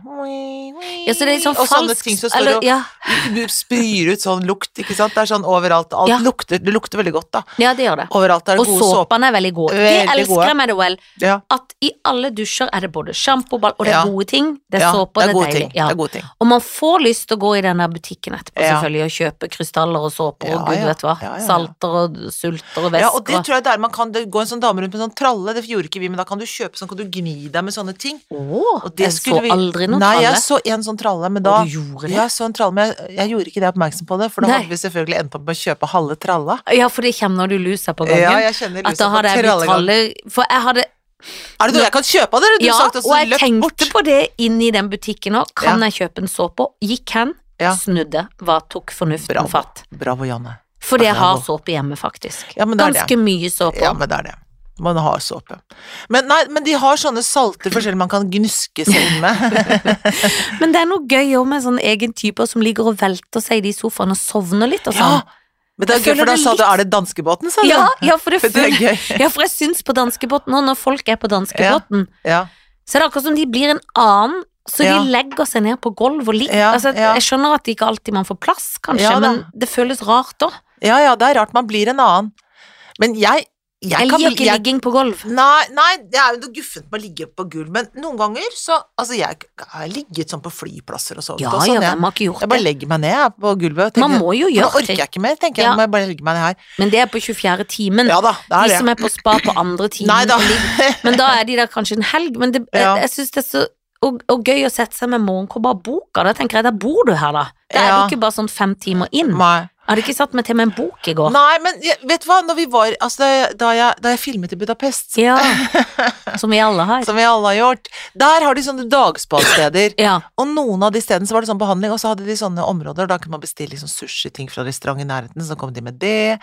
Speaker 2: ja, så det er sånn
Speaker 1: Og sånne
Speaker 2: falskt
Speaker 1: ting som står
Speaker 2: eller-
Speaker 1: og
Speaker 2: ja,
Speaker 1: Du spyr ut sånn lukt, ikke sant. Det er sånn overalt. Alt
Speaker 2: Ja.
Speaker 1: lukter Det lukter veldig godt, da.
Speaker 2: ja, det gjør det.
Speaker 1: Overalt er
Speaker 2: Og
Speaker 1: det god såpe.
Speaker 2: såpene er veldig gode. det
Speaker 1: Veldig
Speaker 2: elsker
Speaker 1: gode.
Speaker 2: jeg med det, well.
Speaker 1: Ja.
Speaker 2: At i alle dusjer er det både sjampo, ball, og det er
Speaker 1: Ja.
Speaker 2: gode ting. Det er
Speaker 1: ja,
Speaker 2: såpe, og det er
Speaker 1: gode
Speaker 2: deilig.
Speaker 1: ting.
Speaker 2: Ja.
Speaker 1: Det er gode ting.
Speaker 2: Og man får lyst til å gå i den der butikken etterpå
Speaker 1: Ja.
Speaker 2: selvfølgelig og kjøpe krystaller og såper og
Speaker 1: Ja,
Speaker 2: gud
Speaker 1: ja.
Speaker 2: vet
Speaker 1: Ja,
Speaker 2: hva.
Speaker 1: ja, ja.
Speaker 2: Salter og sulter og
Speaker 1: Ja, og
Speaker 2: væsker.
Speaker 1: det tror jeg det er man kan det går en sånn dame rundt med sånn tralle, det gjorde ikke vi, men da kan du kjøpe sånn, kan du gni deg med sånne ting.
Speaker 2: Å,
Speaker 1: Og det
Speaker 2: jeg så
Speaker 1: skulle vi-
Speaker 2: aldri noen
Speaker 1: Nei,
Speaker 2: tralle.
Speaker 1: jeg så en sånn tralle, men da
Speaker 2: Og du gjorde det?
Speaker 1: Ja, jeg så en tralle, men jeg, jeg gjorde ikke det oppmerksom på det, for da
Speaker 2: Nei.
Speaker 1: hadde vi selvfølgelig endt opp med å kjøpe halve tralla.
Speaker 2: Ja, for det kommer når du luser på gangen.
Speaker 1: Ja, jeg kjenner
Speaker 2: at
Speaker 1: lusa
Speaker 2: da
Speaker 1: på
Speaker 2: hadde jeg blitt
Speaker 1: trallegang.
Speaker 2: tralle For jeg hadde
Speaker 1: Er det noe jeg kan kjøpe av dere? Du
Speaker 2: Ja,
Speaker 1: sagt
Speaker 2: og jeg tenkte
Speaker 1: bort.
Speaker 2: på det inne i den butikken òg. Kan jeg kjøpe en såpe? Gikk hen,
Speaker 1: Ja.
Speaker 2: snudde, hva tok fornuften
Speaker 1: Bravo.
Speaker 2: fatt.
Speaker 1: Bravo, Janne.
Speaker 2: Fordi jeg har
Speaker 1: Bravo.
Speaker 2: såpe hjemme, faktisk.
Speaker 1: Ja, men det er det.
Speaker 2: Ganske mye såpe.
Speaker 1: Ja, men det er det. Man har såpe. Men, nei, men de har sånne salter forskjellig man kan gnuske seg inn med.
Speaker 2: Men det er noe gøy òg med sånne egen typer som ligger og velter seg i de sofaene og sovner litt og
Speaker 1: ja.
Speaker 2: sånn.
Speaker 1: Men det
Speaker 2: Jeg
Speaker 1: er gøy,
Speaker 2: føler
Speaker 1: for da
Speaker 2: det
Speaker 1: sa du
Speaker 2: litt-
Speaker 1: er det danskebåten, sa du?
Speaker 2: Ja, ja, for det
Speaker 1: For det er
Speaker 2: føler
Speaker 1: gøy.
Speaker 2: Ja, for jeg syns på danskebåten nå, når folk er på danskebåten,
Speaker 1: Ja.
Speaker 2: så er det akkurat som de blir en annen, så
Speaker 1: Ja.
Speaker 2: de legger seg ned på gulv og ligger
Speaker 1: Ja,
Speaker 2: altså,
Speaker 1: ja.
Speaker 2: Jeg skjønner at det ikke alltid man får plass, kanskje,
Speaker 1: Ja, da.
Speaker 2: men det føles rart òg.
Speaker 1: ja, ja, det er rart man blir en annen. Men jeg, jeg,
Speaker 2: Jeg,
Speaker 1: kan bli
Speaker 2: liker ikke
Speaker 1: jeg,
Speaker 2: ligging på gulv.
Speaker 1: Nei, nei, det er jo noe guffent med å ligge på gulv, men noen ganger så Altså, jeg har ligget sånn på flyplasser og sånt.
Speaker 2: Ja,
Speaker 1: og sånn,
Speaker 2: ja,
Speaker 1: jeg.
Speaker 2: hvem har ikke gjort
Speaker 1: Jeg bare
Speaker 2: det?
Speaker 1: legger meg ned jeg, på gulvet. og
Speaker 2: Man
Speaker 1: tenker,
Speaker 2: må jo
Speaker 1: Nå
Speaker 2: gjøre
Speaker 1: orker
Speaker 2: det,
Speaker 1: jeg ikke mer, tenker jeg.
Speaker 2: Ja.
Speaker 1: Nå må jeg bare legge meg ned her.
Speaker 2: men det er på 24 timen.
Speaker 1: Ja da, det
Speaker 2: De
Speaker 1: er
Speaker 2: som
Speaker 1: det.
Speaker 2: er på spa på andre timen.
Speaker 1: Nei da.
Speaker 2: og ligger- Men da er de der kanskje en helg, men det,
Speaker 1: Ja.
Speaker 2: jeg, jeg syns det er så og, og gøy å sette seg med morgenkåpa og boka. Da tenker jeg, der bor du her, da. Da er
Speaker 1: Ja.
Speaker 2: du ikke bare sånn fem timer inn.
Speaker 1: Nei.
Speaker 2: Jeg hadde ikke satt meg til med en bok i går.
Speaker 1: Nei, men jeg, vet du hva, når vi var Altså, da jeg, da jeg, da jeg filmet i Budapest,
Speaker 2: Ja. Som vi alle har.
Speaker 1: som vi alle har gjort, der har de sånne dagspasteder.
Speaker 2: Ja.
Speaker 1: Og noen av de stedene så var det sånn behandling, og så hadde de sånne områder, og da kunne man bestille liksom sushiting fra restaurant i nærheten, så kom de med det.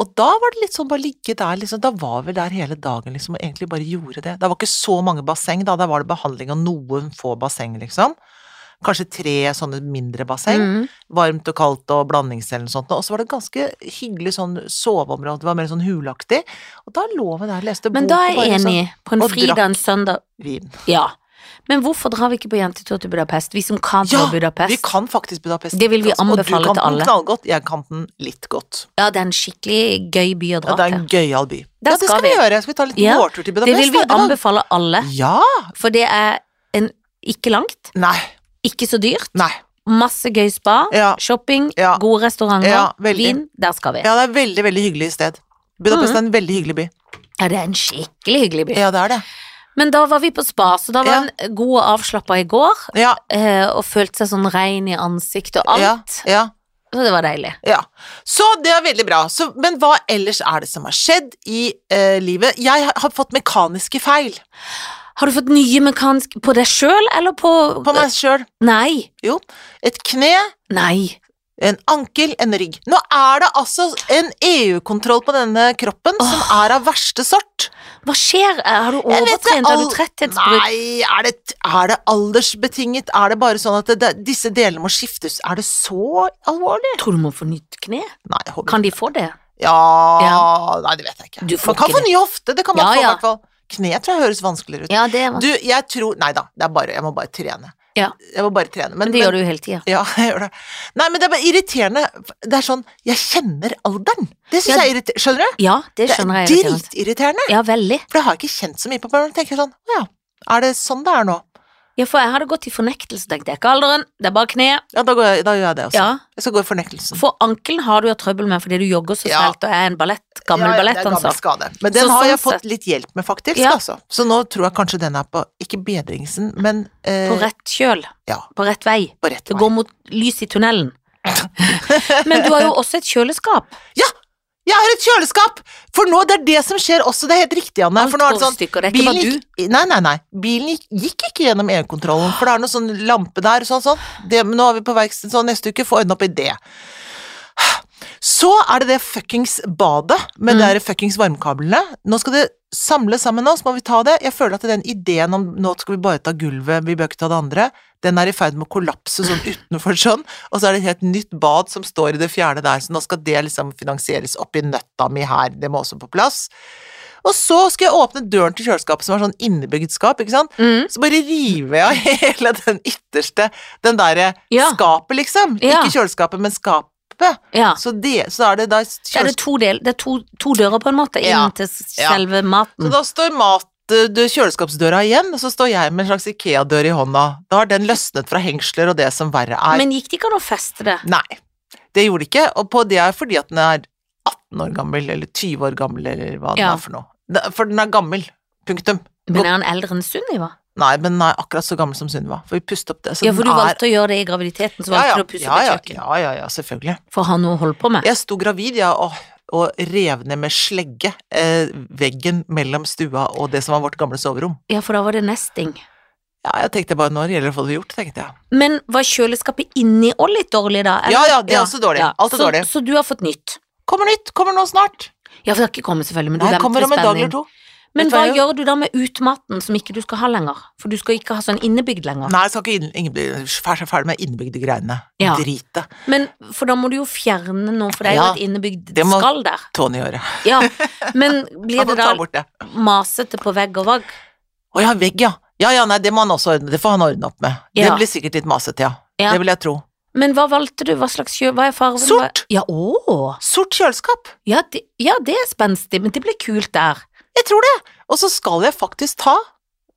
Speaker 1: Og da var det litt sånn bare ligge der, liksom. Da var vi der hele dagen, liksom, og egentlig bare gjorde det. Det var ikke så mange basseng, da. Der var det behandling og noen få basseng, liksom. Kanskje tre sånne mindre basseng.
Speaker 2: Mm.
Speaker 1: varmt og kaldt og blandings eller noe sånt. Og så var det ganske hyggelig sånn soveområde, det var mer sånn hulaktig. Og da lå vi der, leste
Speaker 2: Men
Speaker 1: bok
Speaker 2: da
Speaker 1: og
Speaker 2: er
Speaker 1: bare
Speaker 2: jeg enig. På en
Speaker 1: sånn? og
Speaker 2: fridag,
Speaker 1: drakk.
Speaker 2: en søndag
Speaker 1: sånn vin.
Speaker 2: Ja. Men hvorfor drar vi ikke på jentetur til Budapest, vi som kan dra
Speaker 1: Ja,
Speaker 2: til Budapest?
Speaker 1: Vi kan faktisk Budapest.
Speaker 2: Det vil vi
Speaker 1: Og
Speaker 2: anbefale
Speaker 1: du
Speaker 2: til
Speaker 1: kan
Speaker 2: alle.
Speaker 1: den knallgodt, jeg kan den litt godt.
Speaker 2: Ja, det er en skikkelig gøy by å
Speaker 1: Ja,
Speaker 2: dra
Speaker 1: det er
Speaker 2: til.
Speaker 1: en gøyal by.
Speaker 2: Der
Speaker 1: Ja, det
Speaker 2: skal
Speaker 1: skal vi
Speaker 2: vi.
Speaker 1: gjøre. Skal vi ta en liten
Speaker 2: Ja,
Speaker 1: vårtur til
Speaker 2: Det
Speaker 1: Budapest?
Speaker 2: vil vi
Speaker 1: da? var-
Speaker 2: anbefale alle,
Speaker 1: Ja!
Speaker 2: for det er en, ikke langt,
Speaker 1: Nei.
Speaker 2: ikke så dyrt,
Speaker 1: Nei.
Speaker 2: masse gøy spa,
Speaker 1: Ja.
Speaker 2: shopping,
Speaker 1: Ja.
Speaker 2: gode restauranter,
Speaker 1: Ja, veldig.
Speaker 2: vin. Der skal vi.
Speaker 1: ja, det er et veldig, veldig hyggelig sted.
Speaker 2: Mhm.
Speaker 1: Budapest er en veldig hyggelig by.
Speaker 2: Ja, det er en skikkelig hyggelig by.
Speaker 1: Ja, det er det.
Speaker 2: Men da var vi på spa, så da var
Speaker 1: Ja.
Speaker 2: en god og avslappa i går,
Speaker 1: Ja,
Speaker 2: eh, og følte seg sånn rein i ansiktet og
Speaker 1: ja,
Speaker 2: alt.
Speaker 1: ja.
Speaker 2: Så det var deilig.
Speaker 1: Ja, så det er veldig bra. Så, men hva ellers er det som har skjedd i eh, livet? Jeg har- har fått mekaniske feil
Speaker 2: Har du fått nye mekanisk På deg sjøl, eller på,
Speaker 1: på meg sjøl.
Speaker 2: Nei.
Speaker 1: Jo, et kne,
Speaker 2: Nei.
Speaker 1: en ankel, en rygg. Nå er det altså en EU-kontroll på denne kroppen som er av verste sort.
Speaker 2: Hva skjer? Eh, Har du
Speaker 1: Jeg vet det,
Speaker 2: overtrent? Har
Speaker 1: all-
Speaker 2: du tretthetsbrudd?
Speaker 1: Nei, er det, er det aldersbetinget? Er det bare sånn at det, det, disse delene må skiftes? Er det så alvorlig?
Speaker 2: Tror du må få nytt kne?
Speaker 1: Nei, jeg håper
Speaker 2: Kan de få det?
Speaker 1: Ja,
Speaker 2: Ja.
Speaker 1: Nei, det vet jeg ikke.
Speaker 2: Du får
Speaker 1: man kan
Speaker 2: ikke det.
Speaker 1: fornye hofte, det kan man
Speaker 2: Ja,
Speaker 1: få i
Speaker 2: ja.
Speaker 1: hvert fall. Kne tror jeg høres vanskeligere ut.
Speaker 2: Ja, det var
Speaker 1: Du, jeg tror Nei da, det er bare, jeg må bare trene.
Speaker 2: Ja.
Speaker 1: Jeg må bare trene. Men,
Speaker 2: Men det gjør du jo hele tida.
Speaker 1: Ja, jeg gjør det. Nei, men det er bare irriterende. Det er sånn, jeg kjenner alderen. Det syns
Speaker 2: Ja.
Speaker 1: jeg er irriterende. Skjønner du?
Speaker 2: Ja, det
Speaker 1: Det
Speaker 2: skjønner
Speaker 1: er
Speaker 2: jeg. irriterende.
Speaker 1: dritirriterende.
Speaker 2: Ja, veldig.
Speaker 1: For det har jeg ikke kjent så mye på. Men jeg tenker sånn, å ja, er det sånn det er nå?
Speaker 2: Ja, for jeg hadde gått i fornektelse, tenkte jeg. Ikke alderen, det er bare kneet.
Speaker 1: Ja, da, går jeg, da gjør jeg det også.
Speaker 2: Ja.
Speaker 1: Jeg skal gå i fornektelsen.
Speaker 2: For ankelen har du jo trøbbel med fordi du jogger så
Speaker 1: Ja.
Speaker 2: fælt og er en ballett, gammel
Speaker 1: Ja, ja, det er
Speaker 2: ballettdanser.
Speaker 1: gammel skade. Men den
Speaker 2: Så
Speaker 1: har
Speaker 2: sånn
Speaker 1: jeg fått
Speaker 2: sett-
Speaker 1: litt hjelp med, faktisk.
Speaker 2: Ja.
Speaker 1: Altså. Så nå tror jeg kanskje den er på, ikke bedringsen, men eh,
Speaker 2: På rett kjøl.
Speaker 1: Ja.
Speaker 2: På rett vei.
Speaker 1: på rett
Speaker 2: Det
Speaker 1: vei.
Speaker 2: går mot lys i tunnelen. Men du har jo også et kjøleskap.
Speaker 1: Jeg har et kjøleskap! For nå, det er det som skjer også, det er helt riktig, Anne.
Speaker 2: Alt
Speaker 1: For nå er
Speaker 2: går
Speaker 1: det sånn
Speaker 2: i stykker. Det er ikke bare du.
Speaker 1: gikk, nei, nei, nei. Bilen gikk, gikk ikke gjennom EU-kontrollen, for det er noe sånn lampe der, sånn, sånn. Det, men nå er vi på verksted, så neste uke få ordne opp i det. Så er det det fuckings badet med
Speaker 2: Mm.
Speaker 1: de der fuckings varmekablene. Nå skal det samle sammen nå, så må vi ta det. Jeg føler at den ideen om nå skal vi bare ta gulvet, vi bør ikke ta det andre, den er i ferd med å kollapse sånn utenfor sånn, og så er det et helt nytt bad som står i det fjerne der, så nå skal det liksom finansieres oppi nøtta mi her, det må også på plass. Og så skal jeg åpne døren til kjøleskapet som er sånn innebygd skap, ikke sant.
Speaker 2: Mm.
Speaker 1: Så bare river jeg av hele den ytterste, den derre
Speaker 2: Ja.
Speaker 1: skapet, liksom.
Speaker 2: Ja.
Speaker 1: Ikke kjøleskapet, men skapet.
Speaker 2: Ja.
Speaker 1: Så, det, så da er det da
Speaker 2: Ja, det
Speaker 1: kjøles-
Speaker 2: er to, del, det er to, to dører, på en måte, inn
Speaker 1: Ja.
Speaker 2: til s-
Speaker 1: Ja.
Speaker 2: selve
Speaker 1: Så
Speaker 2: maten.
Speaker 1: da står mat, du, kjøleskapsdøra igjen, og så står jeg med en slags Ikea-dør i hånda. Da har den løsnet fra hengsler og det som verre er.
Speaker 2: Men gikk det ikke an å feste det?
Speaker 1: Nei, det gjorde det ikke, og på det er fordi at den er 18 år gammel, eller 20 år gammel, eller hva den
Speaker 2: Ja.
Speaker 1: er for noe. Det- For den er gammel. Punktum.
Speaker 2: Men er han eldre enn Sunniva?
Speaker 1: Nei, men den er akkurat så gammel som Sunniva, for vi pustet opp det. Så
Speaker 2: Ja, for
Speaker 1: den
Speaker 2: du
Speaker 1: er-
Speaker 2: valgte å gjøre det i graviditeten, så valgte du å pusse
Speaker 1: ja,
Speaker 2: opp i
Speaker 1: ja,
Speaker 2: kjøkkenet.
Speaker 1: ja, ja, ja, selvfølgelig.
Speaker 2: For å ha noe å holde på med.
Speaker 1: Jeg sto gravid, ja, og, og rev ned med slegge eh, veggen mellom stua og det som var vårt gamle soverom.
Speaker 2: Ja, for da var det nesting.
Speaker 1: Ja, jeg tenkte bare når gjelder det å få det gjort, tenkte jeg.
Speaker 2: Men var kjøleskapet inni òg litt dårlig, da? eller?
Speaker 1: Ja, ja, det er også dårlig. Alt er
Speaker 2: så,
Speaker 1: dårlig.
Speaker 2: Så du har fått nytt?
Speaker 1: Kommer nytt, kommer nå snart.
Speaker 2: Ja, for det har ikke kommet, selvfølgelig, men du
Speaker 1: Nei,
Speaker 2: venter
Speaker 1: kommer
Speaker 2: med
Speaker 1: om en dag eller
Speaker 2: spenning.
Speaker 1: to.
Speaker 2: Men
Speaker 1: Vet du hva
Speaker 2: hva
Speaker 1: jeg
Speaker 2: gjør du da med utmaten som ikke du skal ha lenger? For du skal ikke ha sånn innebygd lenger.
Speaker 1: Nei, jeg skal ikke inn, ingen bli ferdig, ferdig med innebygde greiene.
Speaker 2: Ja.
Speaker 1: Drite.
Speaker 2: Men for da må du jo fjerne noe, for det er jo
Speaker 1: Ja,
Speaker 2: et innebygd
Speaker 1: det må-
Speaker 2: skall der.
Speaker 1: Tony gjøre.
Speaker 2: Ja, men blir
Speaker 1: Han
Speaker 2: det
Speaker 1: får ta
Speaker 2: da
Speaker 1: bort det.
Speaker 2: masete på vegg og vagg?
Speaker 1: Å ja, vegg, ja. Ja, ja, nei, det må han også ordne, det får han ordne opp med. Det
Speaker 2: Ja.
Speaker 1: blir sikkert litt masete, ja.
Speaker 2: Ja.
Speaker 1: Det vil jeg tro.
Speaker 2: Men hva valgte du? Hva slags kjø... Hva er fargen?
Speaker 1: Sort.
Speaker 2: Hva- Ja, å.
Speaker 1: Sort kjøleskap.
Speaker 2: Ja, det, ja, det er spenstig, men det blir kult der.
Speaker 1: Jeg tror det. Og så skal jeg faktisk ta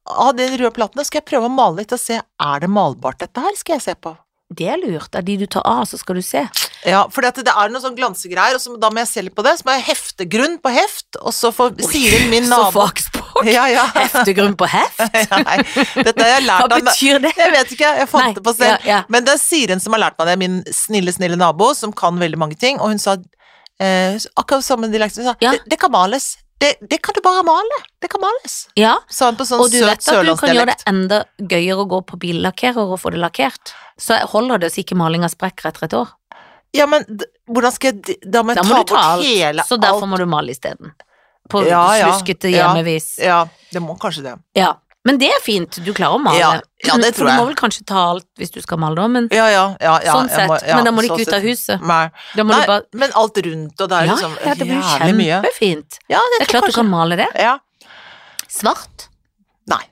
Speaker 1: av de røde platene, skal jeg prøve å male litt og se, er det malbart dette her, skal jeg se på.
Speaker 2: Det er lurt. Av de du tar av, så skal du se.
Speaker 1: Ja, for det er noen sånn glansegreier, og så, da må jeg se litt på det, så må jeg hefte grunn på heft, og så får Siren min
Speaker 2: Så
Speaker 1: nabo
Speaker 2: fagspråk.
Speaker 1: Ja, ja.
Speaker 2: Heftegrunn på heft?
Speaker 1: Nei, dette har jeg
Speaker 2: Hva
Speaker 1: lært av
Speaker 2: betyr det?
Speaker 1: Jeg vet ikke, jeg fant
Speaker 2: Nei,
Speaker 1: det på selv.
Speaker 2: Ja, ja.
Speaker 1: Men det er Siren som har lært meg det, min snille, snille nabo, som kan veldig mange ting, og hun sa eh, akkurat samme dialekt, hun sa
Speaker 2: Ja.
Speaker 1: det, det kan males. Det, det kan du bare male. Det kan males.
Speaker 2: ja.
Speaker 1: Sa hun på sånn
Speaker 2: Og du
Speaker 1: søt
Speaker 2: vet at du kan gjøre det
Speaker 1: sørlandsdialekt.
Speaker 2: enda gøyere å gå på billakkerer og få det lakkert. Så holder det hvis ikke malinga sprekker etter et år.
Speaker 1: Ja, men d- hvordan skal jeg d- Da må jeg
Speaker 2: Da må
Speaker 1: ta
Speaker 2: du ta
Speaker 1: bort hele
Speaker 2: alt, så derfor må du male isteden. På
Speaker 1: Ja, ja,
Speaker 2: sluskete
Speaker 1: ja.
Speaker 2: hjemmevis.
Speaker 1: Ja, det må kanskje det.
Speaker 2: Ja. Men det er fint, du klarer å male.
Speaker 1: Ja, ja, det tror
Speaker 2: For du må
Speaker 1: jeg.
Speaker 2: vel kanskje ta alt hvis du skal male, da, men
Speaker 1: Ja, ja, ja. ja
Speaker 2: sånn
Speaker 1: jeg
Speaker 2: sett.
Speaker 1: må- ja,
Speaker 2: men da må du
Speaker 1: sånn
Speaker 2: ikke ut av
Speaker 1: sett.
Speaker 2: huset.
Speaker 1: Nei,
Speaker 2: Da må
Speaker 1: Nei
Speaker 2: du bare
Speaker 1: men alt rundt, og det er
Speaker 2: ja,
Speaker 1: liksom
Speaker 2: ja, det blir jo
Speaker 1: jævlig mye.
Speaker 2: kjempefint.
Speaker 1: Ja,
Speaker 2: Det er klart du kan male det.
Speaker 1: Ja.
Speaker 2: Svart.
Speaker 1: Nei.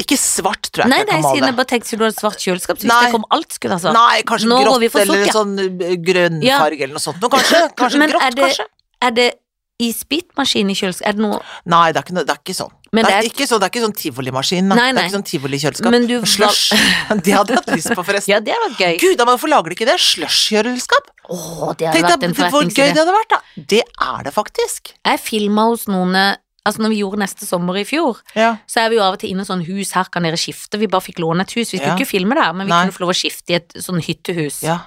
Speaker 1: Ikke svart, tror jeg
Speaker 2: Nei,
Speaker 1: ikke jeg
Speaker 2: nei,
Speaker 1: kan
Speaker 2: siden
Speaker 1: male.
Speaker 2: jeg bare tenkte siden du hadde svart kjøleskap, så hvis
Speaker 1: Nei.
Speaker 2: det kom alt, skulle det være svart.
Speaker 1: Nei, kanskje
Speaker 2: Nå går vi
Speaker 1: grått
Speaker 2: for
Speaker 1: eller
Speaker 2: sort, ja.
Speaker 1: sånn eh, grønnfarge
Speaker 2: Ja.
Speaker 1: eller noe sånt. Noe, kanskje kanskje
Speaker 2: Men
Speaker 1: grått,
Speaker 2: er det-
Speaker 1: kanskje.
Speaker 2: Er det isbitmaskin i kjøleskap? Er det noe
Speaker 1: Nei, det er ikke, noe- det er ikke sånn.
Speaker 2: Men
Speaker 1: det, er
Speaker 2: det er-
Speaker 1: ikke sånn. Det er ikke sånn tivolimaskin. da.
Speaker 2: Nei,
Speaker 1: Det
Speaker 2: nei.
Speaker 1: er ikke sånn tivolikjøleskap.
Speaker 2: Men du val-
Speaker 1: Slush. Det hadde jeg hatt lyst på, forresten.
Speaker 2: Ja, det hadde vært gøy.
Speaker 1: Gud, da, men hvorfor lager de ikke det? Slush-kjøleskap?
Speaker 2: Åh, det hadde
Speaker 1: Tenk
Speaker 2: vært
Speaker 1: deg
Speaker 2: en
Speaker 1: hvor gøy det
Speaker 2: forretningsidé.
Speaker 1: hadde vært, da. Det er det faktisk.
Speaker 2: Jeg filma hos noen eh, Altså, når vi gjorde neste sommer i fjor,
Speaker 1: Ja.
Speaker 2: så er vi jo av og til inne i sånn hus, her kan dere skifte. Vi bare fikk låne et hus, vi
Speaker 1: Ja.
Speaker 2: skulle ikke filme der, men vi
Speaker 1: Nei.
Speaker 2: kunne få lov å skifte i et sånn hyttehus.
Speaker 1: ja.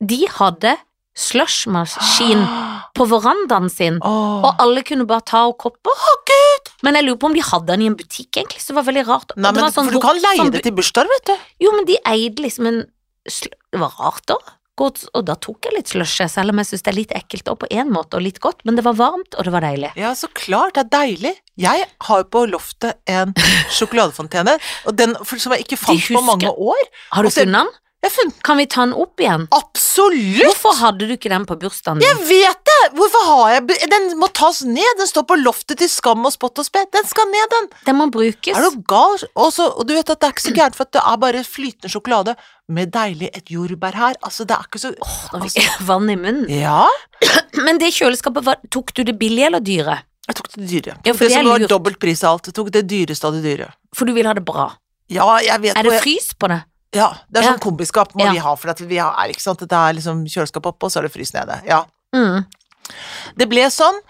Speaker 2: De hadde slushmaskin på verandaen sin,
Speaker 1: Åh.
Speaker 2: og alle kunne bare ta og kopper. Men jeg lurer på om de hadde den i en butikk, egentlig, så det var veldig rart. Og
Speaker 1: Nei,
Speaker 2: det
Speaker 1: men
Speaker 2: var sånn
Speaker 1: for du kan
Speaker 2: vok-
Speaker 1: leie
Speaker 2: sånn
Speaker 1: det til bursdager, vet du.
Speaker 2: bu- Jo, men de eide liksom en sl Det var rart, da. Godt, og da tok jeg litt slush, selv om jeg syns det er litt ekkelt, og på en måte, og litt godt, men det var varmt, og det var deilig.
Speaker 1: Ja, så klart. Det er deilig. Jeg har jo på loftet en sjokoladefontene, og den for, som jeg ikke fant på
Speaker 2: husker-
Speaker 1: mange år.
Speaker 2: Har du
Speaker 1: Og så-
Speaker 2: funnet den?
Speaker 1: Jeg har funnet
Speaker 2: Kan vi ta den opp igjen?
Speaker 1: absolutt
Speaker 2: Hvorfor hadde du ikke den på bursdagen
Speaker 1: Jeg
Speaker 2: din?
Speaker 1: vet det! Hvorfor har jeg be- Den må tas ned! Den står på loftet til skam og spott og spe. Den skal ned, den!
Speaker 2: Den må brukes.
Speaker 1: Er du gal? Og så- og du vet at det er ikke så gærent, for at det er bare flytende sjokolade med deilig et jordbær her. Altså, det er ikke så
Speaker 2: Nå fikk jeg vann i munnen.
Speaker 1: Ja?
Speaker 2: Men det kjøleskapet, var, tok du det billige eller dyre?
Speaker 1: Jeg tok det dyre.
Speaker 2: Ja, for
Speaker 1: det
Speaker 2: det er
Speaker 1: som var
Speaker 2: lurt.
Speaker 1: dobbelt pris av alt. Jeg tok det dyreste av det dyre.
Speaker 2: For du vil ha det bra.
Speaker 1: Ja, jeg vet
Speaker 2: Er
Speaker 1: hvor jeg-
Speaker 2: det frys på det?
Speaker 1: Ja, det er
Speaker 2: Ja.
Speaker 1: sånn kombiskap må
Speaker 2: Ja.
Speaker 1: vi ha, for at vi har, er ikke sant, at det er liksom kjøleskap oppe, og så er det frys nede. Ja.
Speaker 2: Mm.
Speaker 1: Det ble sånn.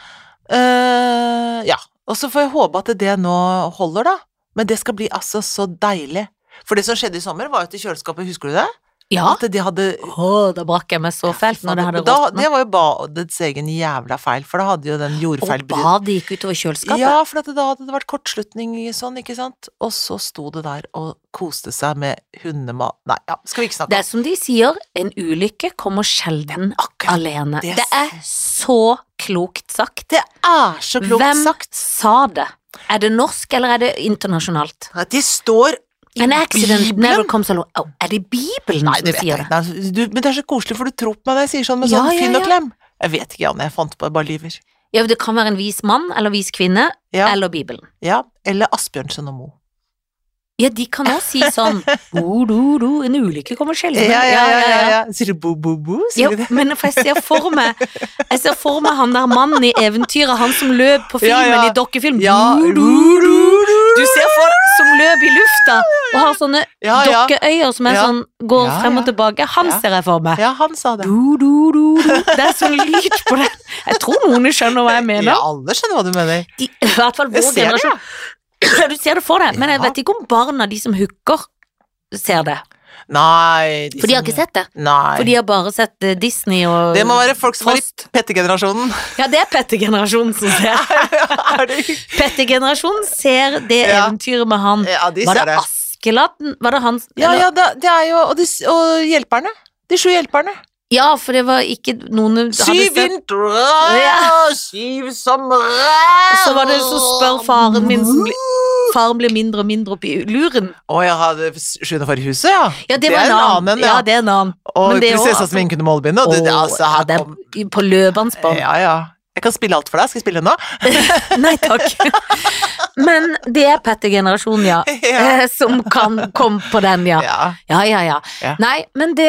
Speaker 1: eh, ja. Og så får jeg håpe at det nå holder, da. Men det skal bli altså så deilig. For det som skjedde i sommer, var jo at i kjøleskapet, husker du det?
Speaker 2: Ja.
Speaker 1: At de hadde
Speaker 2: Å, da brakk jeg meg så fælt når det hadde
Speaker 1: da,
Speaker 2: råtna.
Speaker 1: Det var jo badets egen jævla feil, for da hadde jo den
Speaker 2: Og
Speaker 1: jordfeilbryten
Speaker 2: badet gikk utover kjøleskapet.
Speaker 1: Ja, for at da hadde det vært kortslutning i sånn, ikke sant. Og så sto det der og koste seg med hundemat Nei, ja, skal vi ikke snakke
Speaker 2: Det er som de sier, en ulykke kommer sjelden
Speaker 1: om akkurat
Speaker 2: alene.
Speaker 1: det
Speaker 2: Det er så klokt sagt.
Speaker 1: Det er så klokt
Speaker 2: Hvem
Speaker 1: sagt.
Speaker 2: sa det? Er det norsk, eller er det internasjonalt?
Speaker 1: At de står i
Speaker 2: An accident
Speaker 1: Bibelen.
Speaker 2: never comes alone. Au, er det Bibelen
Speaker 1: Nei, det vet
Speaker 2: som
Speaker 1: jeg
Speaker 2: sier det?
Speaker 1: ikke. Nei, du, men det er så koselig, for du tror på meg når jeg sier sånn med
Speaker 2: Ja,
Speaker 1: sånn
Speaker 2: ja,
Speaker 1: finn og
Speaker 2: ja.
Speaker 1: klem. Jeg vet ikke, Janne. Jeg fant på det, bare lyver.
Speaker 2: Ja, det kan være en vis mann eller vis kvinne,
Speaker 1: Ja,
Speaker 2: eller Bibelen.
Speaker 1: ja. Eller Asbjørnsen og Moe.
Speaker 2: Ja, de kan også si sånn «Bo, do, do, En ulykke kommer sjelden.
Speaker 1: Sier du bo-bo-bo?
Speaker 2: Jo,
Speaker 1: Sier du det?
Speaker 2: men for jeg ser for meg Jeg ser for meg han der mannen i eventyret, han som løp på
Speaker 1: Ja,
Speaker 2: filmen,
Speaker 1: ja.
Speaker 2: i dokkefilm.
Speaker 1: Ja.
Speaker 2: Bo, do, do. Du ser for som løp i lufta og har sånne
Speaker 1: Ja, ja.
Speaker 2: dokkeøyer som er
Speaker 1: Ja.
Speaker 2: sånn går
Speaker 1: Ja,
Speaker 2: frem
Speaker 1: ja.
Speaker 2: og tilbake. Han
Speaker 1: Ja.
Speaker 2: ser jeg for meg.
Speaker 1: Ja, han sa det.
Speaker 2: Do, do, do, do. Det er sånn lyd på det. Jeg tror noen skjønner hva jeg
Speaker 1: Ja,
Speaker 2: mener.
Speaker 1: alle skjønner hva du mener.
Speaker 2: De, I hvert fall
Speaker 1: Jeg
Speaker 2: vår
Speaker 1: ser det, ja.
Speaker 2: generasjon. Du ser det for deg, men jeg
Speaker 1: Ja.
Speaker 2: vet ikke om barna, de som hooker, ser det.
Speaker 1: Nei
Speaker 2: For de har ikke sett det.
Speaker 1: Nei.
Speaker 2: For de har bare sett eh, Disney og
Speaker 1: det må være folk som var i
Speaker 2: Frost.
Speaker 1: pettegenerasjonen.
Speaker 2: Ja, det er Petter-generasjonen som ser.
Speaker 1: Er det-
Speaker 2: Petter-generasjonen ser det
Speaker 1: Ja.
Speaker 2: eventyret med han.
Speaker 1: ja, de
Speaker 2: Var
Speaker 1: ser
Speaker 2: det
Speaker 1: det.
Speaker 2: Askeladden? Var det han
Speaker 1: Ja, ja, det, det er jo Og, de, s- og hjelperne. De sju hjelperne.
Speaker 2: ja, for det var ikke noen hadde
Speaker 1: Syv
Speaker 2: sett.
Speaker 1: vintre,
Speaker 2: Ja.
Speaker 1: syv somre
Speaker 2: Og så var det så spør faren min som blir Faren blir mindre og mindre oppi luren.
Speaker 1: Å, jeg hadde Sjuende far i huset, ja.
Speaker 2: Ja, det,
Speaker 1: er
Speaker 2: var
Speaker 1: en annen,
Speaker 2: ja.
Speaker 1: ja.
Speaker 2: det er en annen.
Speaker 1: og
Speaker 2: men det er jo
Speaker 1: prinsessa
Speaker 2: altså-
Speaker 1: som ingen kunne målebinde, og det, det,
Speaker 2: Åh,
Speaker 1: altså,
Speaker 2: ja,
Speaker 1: her
Speaker 2: det er
Speaker 1: kom
Speaker 2: På løpebånd.
Speaker 1: Ja, ja. Jeg kan spille alt for deg. Skal jeg spille nå?
Speaker 2: Nei takk. Men det er Petter-generasjonen, ja.
Speaker 1: ja.
Speaker 2: eh, Som kan komme på den, ja.
Speaker 1: ja.
Speaker 2: Ja, ja, ja.
Speaker 1: Ja.
Speaker 2: Nei, men det,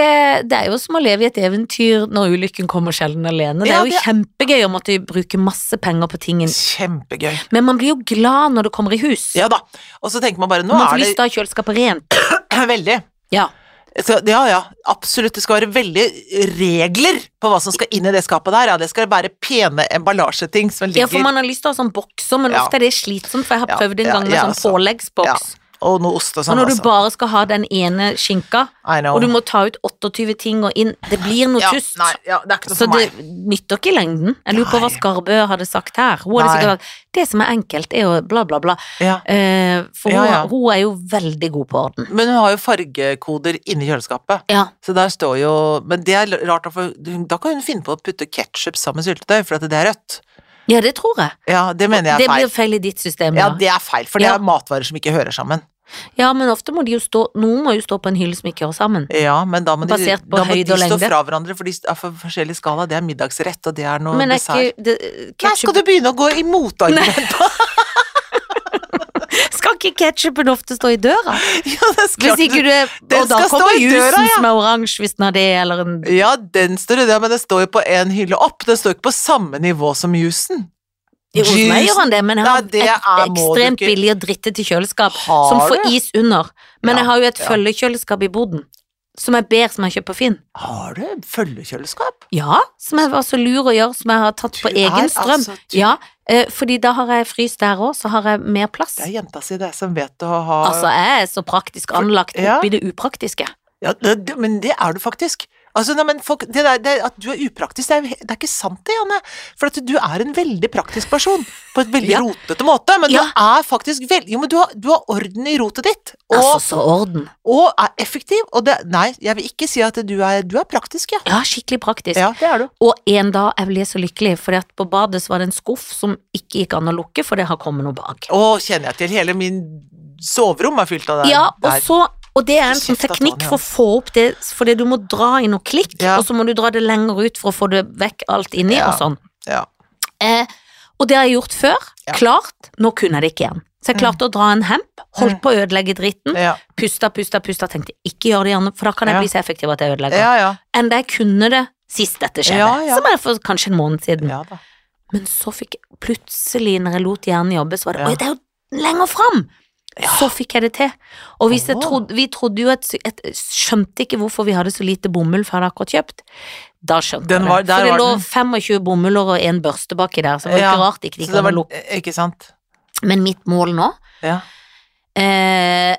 Speaker 2: det er jo som å leve i et eventyr når ulykken kommer sjelden alene. Det
Speaker 1: Ja,
Speaker 2: er jo
Speaker 1: det-
Speaker 2: kjempegøy å måtte bruke masse penger på tingen.
Speaker 1: Kjempegøy.
Speaker 2: Men man blir jo glad når det kommer i hus.
Speaker 1: Ja da. Og så tenker man bare, nå
Speaker 2: man får
Speaker 1: er
Speaker 2: lyst til å ha kjøleskapet rent.
Speaker 1: det veldig
Speaker 2: Ja.
Speaker 1: Jeg skal- ja, ja, absolutt. Det skal være veldig regler på hva som skal inn i det skapet der. Ja, det skal være pene emballasjeting som ligger
Speaker 2: ja, for man har lyst til å ha sånn bokser, men
Speaker 1: Ja.
Speaker 2: ofte er det slitsomt, for
Speaker 1: Ja,
Speaker 2: jeg har prøvd en
Speaker 1: ja,
Speaker 2: gang med
Speaker 1: ja,
Speaker 2: sånn
Speaker 1: altså.
Speaker 2: påleggsboks.
Speaker 1: Og noe ost og
Speaker 2: Og
Speaker 1: sånn,
Speaker 2: når du
Speaker 1: altså.
Speaker 2: bare skal ha den ene skinka,
Speaker 1: I know.
Speaker 2: og du må ta ut 28 ting og inn, det blir noe
Speaker 1: ja,
Speaker 2: tust.
Speaker 1: Nei, ja, det er ikke noe
Speaker 2: Så
Speaker 1: for
Speaker 2: det
Speaker 1: meg.
Speaker 2: nytter ikke i lengden. Jeg lurer på hva
Speaker 1: Nei.
Speaker 2: Skarbø hadde sagt her. Hun hadde
Speaker 1: Nei.
Speaker 2: sikkert vært, det som er enkelt, er jo bla, bla, bla.
Speaker 1: Ja.
Speaker 2: Eh, for
Speaker 1: Ja,
Speaker 2: hun,
Speaker 1: ja.
Speaker 2: hun er jo veldig god på orden.
Speaker 1: Men hun har jo fargekoder inni kjøleskapet.
Speaker 2: Ja.
Speaker 1: Så der står jo Men det er rart, da, for hun- da kan hun finne på å putte ketsjup sammen med syltetøy, for at det er rødt.
Speaker 2: ja, det tror jeg.
Speaker 1: Ja, det mener jeg
Speaker 2: Det
Speaker 1: er feil.
Speaker 2: blir feil i ditt system, ja.
Speaker 1: Ja, det er feil, for det
Speaker 2: Ja.
Speaker 1: er matvarer som ikke hører sammen.
Speaker 2: Ja, men ofte må de jo stå Noen må jo stå på en hylle som ikke hører sammen.
Speaker 1: Ja, men da må de,
Speaker 2: Basert på
Speaker 1: da må de
Speaker 2: høyde og
Speaker 1: stå
Speaker 2: lengde.
Speaker 1: fra hverandre, for de er for forskjellig skala. Det er middagsrett, og det er noe
Speaker 2: Men er
Speaker 1: dessert.
Speaker 2: ikke det,
Speaker 1: Nei, skal
Speaker 2: ketchup,
Speaker 1: du begynne å gå i motargument?
Speaker 2: Skal ikke ketsjupen ofte stå i døra?
Speaker 1: Ja, det er så klart
Speaker 2: Hvis ikke
Speaker 1: du-
Speaker 2: du
Speaker 1: Den
Speaker 2: Og da
Speaker 1: skal stå
Speaker 2: kommer
Speaker 1: i
Speaker 2: jusen
Speaker 1: døra, ja.
Speaker 2: som er oransje, hvis den har det, eller en
Speaker 1: Ja, den står jo der, men det står jo på en hylle opp. Den står ikke på samme nivå som jusen.
Speaker 2: Jo, Hos meg
Speaker 1: Jusen.
Speaker 2: gjør han det, men jeg
Speaker 1: Nei,
Speaker 2: har
Speaker 1: det er-
Speaker 2: et
Speaker 1: må du
Speaker 2: ekstremt
Speaker 1: ikke-
Speaker 2: billig og drittete kjøleskap
Speaker 1: Har
Speaker 2: som
Speaker 1: du?
Speaker 2: får is under. Men
Speaker 1: Ja,
Speaker 2: jeg har jo et
Speaker 1: ja.
Speaker 2: følgekjøleskap i boden, som jeg ber som jeg kjøper på Finn.
Speaker 1: Har du følgekjøleskap?
Speaker 2: Ja, som jeg var så lur å gjøre, som jeg har tatt på
Speaker 1: Du er
Speaker 2: egen strøm.
Speaker 1: altså- du-
Speaker 2: Ja, eh, fordi da har jeg fryst der òg, så har jeg mer plass.
Speaker 1: Det er jenta si, det, som vet å ha
Speaker 2: Altså, jeg er så praktisk anlagt
Speaker 1: Ja.
Speaker 2: oppi det upraktiske.
Speaker 1: ja, det, det- Men det er du faktisk. Altså, nei, men folk, det der, det, At du er upraktisk, det er, jo he- det er ikke sant det, Janne. For at du er en veldig praktisk person, på et veldig
Speaker 2: Ja.
Speaker 1: rotete måte. Men
Speaker 2: Ja.
Speaker 1: du er faktisk veldig Jo, men du har, du har orden i rotet ditt, og,
Speaker 2: Altså, så orden.
Speaker 1: og er effektiv. Og det Nei, jeg vil ikke si at du er Du er praktisk, ja.
Speaker 2: Ja, skikkelig praktisk.
Speaker 1: Ja, det er du.
Speaker 2: Og en dag jeg ble så lykkelig, fordi at på badet så var det en skuff som ikke gikk an å lukke, for det har kommet noe bak.
Speaker 1: Å, kjenner jeg til. Hele min soverom er fylt av det.
Speaker 2: Ja, og
Speaker 1: der.
Speaker 2: så og det er en sånn
Speaker 1: Kjeft at han,
Speaker 2: teknikk
Speaker 1: ja.
Speaker 2: for å få opp det, fordi du må dra i noe klikk,
Speaker 1: Ja.
Speaker 2: og så må du dra det lenger ut for å få det vekk alt inni,
Speaker 1: Ja.
Speaker 2: og sånn.
Speaker 1: Ja.
Speaker 2: Eh, og det har jeg gjort før.
Speaker 1: Ja. Mm.
Speaker 2: Klart. Nå kunne jeg det ikke igjen. Så jeg klarte å dra en hemp, holdt på å ødelegge dritten.
Speaker 1: Ja.
Speaker 2: Pusta, pusta, pusta. Tenkte ikke gjør det igjen, for da kan jeg
Speaker 1: Ja.
Speaker 2: bli så effektiv at jeg ødelegger.
Speaker 1: ja, ja.
Speaker 2: Enn da jeg kunne det sist dette skjedde.
Speaker 1: Ja, ja.
Speaker 2: Som er for kanskje en måned siden.
Speaker 1: Ja da.
Speaker 2: Men så fikk jeg plutselig, når jeg lot hjernen jobbe, så var det
Speaker 1: Ja.
Speaker 2: Oi, det er jo lenger fram!
Speaker 1: Ja.
Speaker 2: Så fikk jeg det til. Og hvis jeg
Speaker 1: Åh.
Speaker 2: trodde, vi trodde jo at Jeg skjønte ikke hvorfor vi hadde så lite bomull før jeg hadde akkurat kjøpt. Da skjønte
Speaker 1: Den var-
Speaker 2: jeg det.
Speaker 1: der
Speaker 2: For det
Speaker 1: var
Speaker 2: lå
Speaker 1: den.
Speaker 2: 25 bomuller og en børste baki der, så det var
Speaker 1: Ja,
Speaker 2: ikke rart ikke de
Speaker 1: Så det
Speaker 2: kan
Speaker 1: var
Speaker 2: lukke.
Speaker 1: Ikke sant?
Speaker 2: Men mitt mål nå
Speaker 1: Ja.
Speaker 2: eh,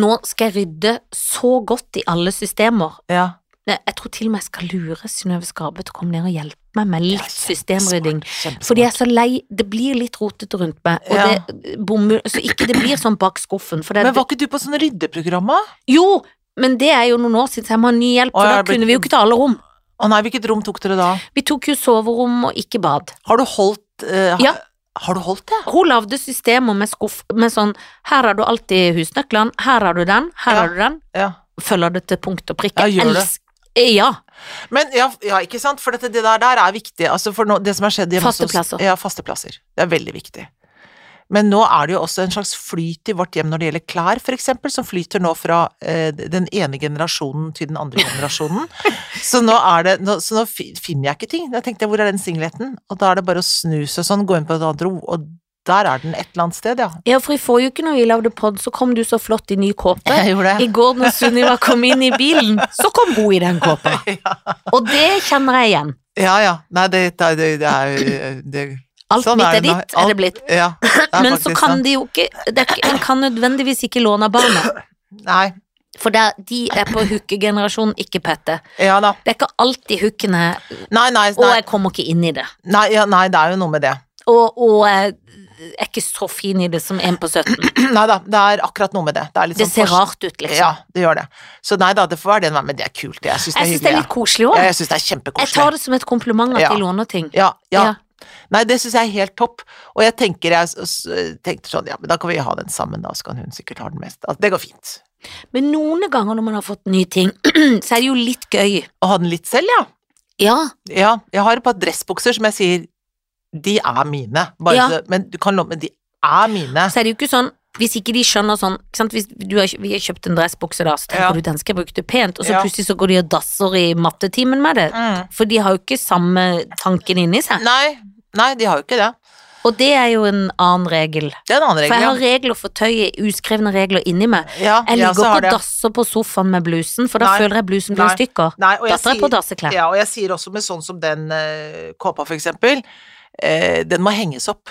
Speaker 2: Nå skal jeg rydde så godt i alle systemer.
Speaker 1: Ja.
Speaker 2: Nei, Jeg tror til og med jeg skal lure Synnøve Skarbe til å komme ned og hjelpe meg med litt systemrydding.
Speaker 1: Kjempesmart.
Speaker 2: Fordi jeg er så lei, det blir litt rotete rundt meg, og
Speaker 1: Ja.
Speaker 2: det bomull Så ikke det blir sånn bak skuffen, for det,
Speaker 1: Men var ikke du på sånn sånne ryddeprogrammer?
Speaker 2: Jo! Men det er jo noen år siden, så jeg må ha ny
Speaker 1: Å,
Speaker 2: hjelp, for
Speaker 1: ja,
Speaker 2: da
Speaker 1: det blir-
Speaker 2: kunne vi jo ikke ta alle rom.
Speaker 1: Å nei, hvilket rom tok dere da?
Speaker 2: Vi tok jo soverom og ikke bad.
Speaker 1: Har du holdt eh, ha-
Speaker 2: Ja.
Speaker 1: Har du holdt det?
Speaker 2: Hun lagde systemer med skuff med sånn Her har du alltid husnøklene, her har du den, her
Speaker 1: Ja.
Speaker 2: har du den.
Speaker 1: Ja.
Speaker 2: Følger det til punkt og prikke.
Speaker 1: Ja, gjør det.
Speaker 2: Elsk- Eh, Ja.
Speaker 1: Men ja, ja ikke sant, for dette, det der, der er viktig. Altså for nå, det som har skjedd hjemme hos
Speaker 2: Faste
Speaker 1: oss-
Speaker 2: plasser.
Speaker 1: Ja, faste plasser. Det er veldig viktig. Men nå er det jo også en slags flyt i vårt hjem når det gjelder klær, for eksempel, som flyter nå fra eh, den ene generasjonen til den andre generasjonen. Så nå er det nå, Så nå fi- finner jeg ikke ting. Da tenkte jeg, hvor er den singleten? Og da er det bare å snu seg sånn, gå inn på et annet rom, og der er den et eller annet sted, ja.
Speaker 2: Ja, for i forrige uke når vi lagde pod, så kom du så flott i ny kåpe.
Speaker 1: gjorde
Speaker 2: I går når Sunniva kom inn i bilen, så kom hun i den kåpa. Og det kjenner jeg igjen.
Speaker 1: Ja, ja. Nei, det, det, det, det er jo det,
Speaker 2: Alt
Speaker 1: Sånn
Speaker 2: mitt er,
Speaker 1: er det nå.
Speaker 2: ditt, er det
Speaker 1: Alt-
Speaker 2: blitt.
Speaker 1: Ja. Det er
Speaker 2: Men så
Speaker 1: faktisk
Speaker 2: kan
Speaker 1: sant.
Speaker 2: de jo ikke, det er ikke En kan nødvendigvis ikke låne av barna.
Speaker 1: Nei.
Speaker 2: For det, er- de er på hookegenerasjonen, ikke Pette.
Speaker 1: Ja da.
Speaker 2: Det er ikke alltid hooken er
Speaker 1: Nei, nei,
Speaker 2: Og
Speaker 1: nei.
Speaker 2: jeg kommer ikke inn i det.
Speaker 1: Nei, ja, nei, det er jo noe med det.
Speaker 2: Og, og jeg er ikke så fin i det som en på 17.
Speaker 1: Nei da, det er akkurat noe med det. Det, er litt
Speaker 2: Det
Speaker 1: sånn
Speaker 2: ser
Speaker 1: forsk-
Speaker 2: rart ut, liksom.
Speaker 1: Ja, det gjør det. Så nei da, det får være det, men det er kult. det. Jeg syns det
Speaker 2: Jeg
Speaker 1: er
Speaker 2: syns det
Speaker 1: hyggelig.
Speaker 2: er litt koselig
Speaker 1: ja. Ja,
Speaker 2: òg.
Speaker 1: jeg syns det er
Speaker 2: Jeg tar
Speaker 1: kjempekoselig.
Speaker 2: det som et kompliment at
Speaker 1: Ja.
Speaker 2: de låner ting.
Speaker 1: Ja, ja.
Speaker 2: Ja.
Speaker 1: Nei, det syns jeg er helt topp. Og jeg tenker jeg s- s- tenkte sånn, ja, men da kan vi ha den sammen, da, så kan hun sikkert ha den mest. Altså, det går fint.
Speaker 2: Men noen ganger når man har fått nye ting, så er det jo litt gøy.
Speaker 1: Å ha den litt selv, ja.
Speaker 2: Ja,
Speaker 1: Ja, jeg har et par dressbukser som jeg sier, de er mine. Bare
Speaker 2: Ja.
Speaker 1: så, men du kan love, men de er mine.
Speaker 2: så er det jo ikke sånn hvis ikke de skjønner sånn ikke sant? Hvis du har, Vi har kjøpt en dressbukse, da, så tenker
Speaker 1: Ja.
Speaker 2: du den skal jeg bruke til pent, og så
Speaker 1: Ja.
Speaker 2: plutselig så går de og dasser i mattetimen med det.
Speaker 1: Mm.
Speaker 2: For de har jo ikke samme tanken inni seg.
Speaker 1: Nei, nei, de har jo ikke det.
Speaker 2: Og det er jo en annen regel.
Speaker 1: Det er en annen
Speaker 2: For
Speaker 1: regel.
Speaker 2: jeg
Speaker 1: ja.
Speaker 2: har regler for tøyet, uskrevne regler inni meg.
Speaker 1: ja,
Speaker 2: Jeg
Speaker 1: jeg
Speaker 2: ligger
Speaker 1: også
Speaker 2: ikke
Speaker 1: har
Speaker 2: og
Speaker 1: det.
Speaker 2: dasser på sofaen med blusen, for da
Speaker 1: Nei.
Speaker 2: føler jeg blusen blir
Speaker 1: Nei.
Speaker 2: i stykker.
Speaker 1: Nei, og jeg
Speaker 2: Datter er på
Speaker 1: sier-
Speaker 2: dasseklær.
Speaker 1: Ja, og jeg sier også med sånn som den eh, kåpa, for eksempel, eh, den må henges opp.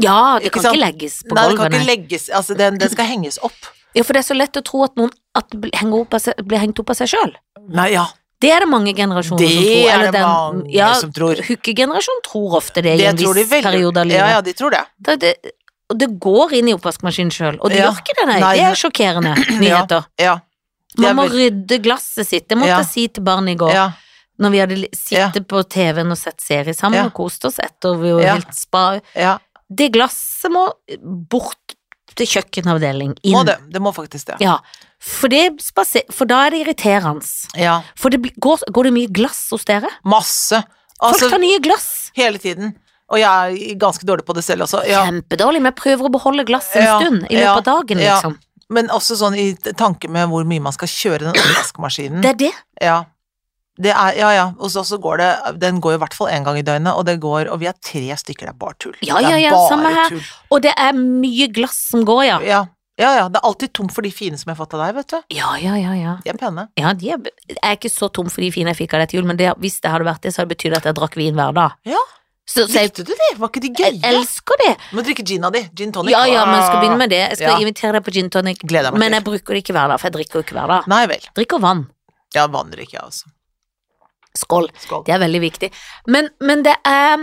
Speaker 2: Ja, det
Speaker 1: Ikke
Speaker 2: kan
Speaker 1: sant?
Speaker 2: ikke legges på
Speaker 1: Nei, den kan
Speaker 2: gulvet.
Speaker 1: ikke
Speaker 2: nei.
Speaker 1: legges Altså, den, den skal henges opp.
Speaker 2: Ja, for det er så lett å tro at noen at det blir henger opp av seg, blir hengt opp av seg sjøl.
Speaker 1: Nei, ja.
Speaker 2: Det er det mange generasjoner
Speaker 1: Det
Speaker 2: som tror.
Speaker 1: er
Speaker 2: eller
Speaker 1: det mange
Speaker 2: ja,
Speaker 1: som tror.
Speaker 2: Hookegenerasjonen tror ofte det, i
Speaker 1: Det
Speaker 2: en
Speaker 1: tror de
Speaker 2: viss
Speaker 1: veldig.
Speaker 2: periode av livet.
Speaker 1: Ja, ja, de tror det.
Speaker 2: Det, det, og det går inn i oppvaskmaskinen sjøl, og det
Speaker 1: Ja.
Speaker 2: gjør ikke det, nei.
Speaker 1: Nei.
Speaker 2: Det er sjokkerende nyheter.
Speaker 1: Ja. Det er
Speaker 2: Man må
Speaker 1: vel-
Speaker 2: rydde glasset sitt. Det måtte
Speaker 1: Ja.
Speaker 2: jeg si til barnet i går.
Speaker 1: ja.
Speaker 2: Når vi hadde li- sittet på TV-en og sett serie sammen
Speaker 1: Ja.
Speaker 2: og kost oss etter vi var
Speaker 1: Ja.
Speaker 2: helt spa.
Speaker 1: ja.
Speaker 2: Det glasset må bort til kjøkkenavdeling. Inn.
Speaker 1: Må det. Det må faktisk det.
Speaker 2: Ja. For, det spase- for da er det irriterende.
Speaker 1: Ja.
Speaker 2: For det blir- går, går det mye glass hos dere?
Speaker 1: Masse.
Speaker 2: Folk
Speaker 1: Altså,
Speaker 2: tar nye glass.
Speaker 1: hele tiden. Og jeg er ganske dårlig på det selv også. Ja.
Speaker 2: Kjempedårlig, men jeg prøver å beholde glasset en
Speaker 1: Ja,
Speaker 2: stund i
Speaker 1: ja,
Speaker 2: løpet av dagen,
Speaker 1: ja.
Speaker 2: liksom.
Speaker 1: Men også sånn i t- tanke med hvor mye man skal kjøre den oppvaskmaskinen.
Speaker 2: Det er det.
Speaker 1: Ja. Det er, ja, ja. Og så, så går det Den går i hvert fall én gang i døgnet, og det går Og vi er tre stykker, det er bare tull.
Speaker 2: Ja,
Speaker 1: det
Speaker 2: ja,
Speaker 1: er
Speaker 2: ja,
Speaker 1: bare
Speaker 2: samme her.
Speaker 1: tull.
Speaker 2: Og det er mye glass som går, ja.
Speaker 1: Ja. ja, ja. Det er alltid tomt for de fine som jeg har fått av deg, vet du.
Speaker 2: Ja, ja, ja, ja.
Speaker 1: De er pene.
Speaker 2: ja de er, jeg er ikke så tom for de fine jeg fikk av deg til jul, men det, hvis det hadde vært det, så hadde det betydd at jeg drakk vin hver dag.
Speaker 1: Ja.
Speaker 2: Så, så jeg
Speaker 1: Likte du de? Var ikke de
Speaker 2: Jeg
Speaker 1: gøye?
Speaker 2: elsker det.
Speaker 1: Du må drikke gina di. Gin tonic.
Speaker 2: Ja, ja, men jeg skal begynne med det. Jeg skal
Speaker 1: Ja.
Speaker 2: invitere deg på gin tonic,
Speaker 1: Gleder meg
Speaker 2: men jeg
Speaker 1: til.
Speaker 2: bruker det ikke hver dag, for jeg drikker jo ikke hver dag.
Speaker 1: Ah. Nei vel.
Speaker 2: Drikker vann.
Speaker 1: Ja, vann drikker jeg også.
Speaker 2: Skål.
Speaker 1: Skål.
Speaker 2: Det er veldig viktig. Men, men det, er,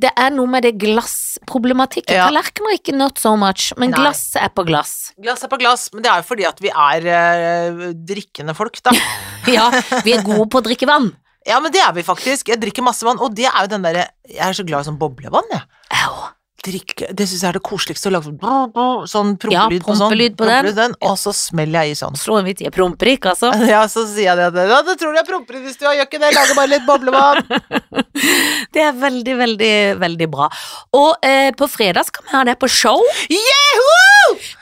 Speaker 2: det er noe med det glassproblematikken.
Speaker 1: Ja.
Speaker 2: Tallerkener er ikke not so much, men
Speaker 1: Nei.
Speaker 2: glass er på glass.
Speaker 1: Glass er på glass, men det er jo fordi at vi er eh, drikkende folk, da.
Speaker 2: Ja, vi er gode på å drikke vann.
Speaker 1: Ja, men det er vi faktisk. Jeg drikker masse vann, og det er jo den derre Jeg er så glad i sånn boblevann, jeg.
Speaker 2: Au.
Speaker 1: drikke Det syns jeg er det koseligste å lage sånn brr, brr, sånn
Speaker 2: Ja,
Speaker 1: prompelyd på sånn.
Speaker 2: prompelyd på den.
Speaker 1: prompelyd Og så smeller jeg i sånn.
Speaker 2: Slå en vits i jeg promper ikke, altså.
Speaker 1: Ja, så sier jeg det at Ja, det tror jeg promper i stua, gjør ikke det, lager bare litt boblevann.
Speaker 2: Det er veldig, veldig, veldig bra. Og eh, på fredag skal vi ha deg på show.
Speaker 1: Jeho!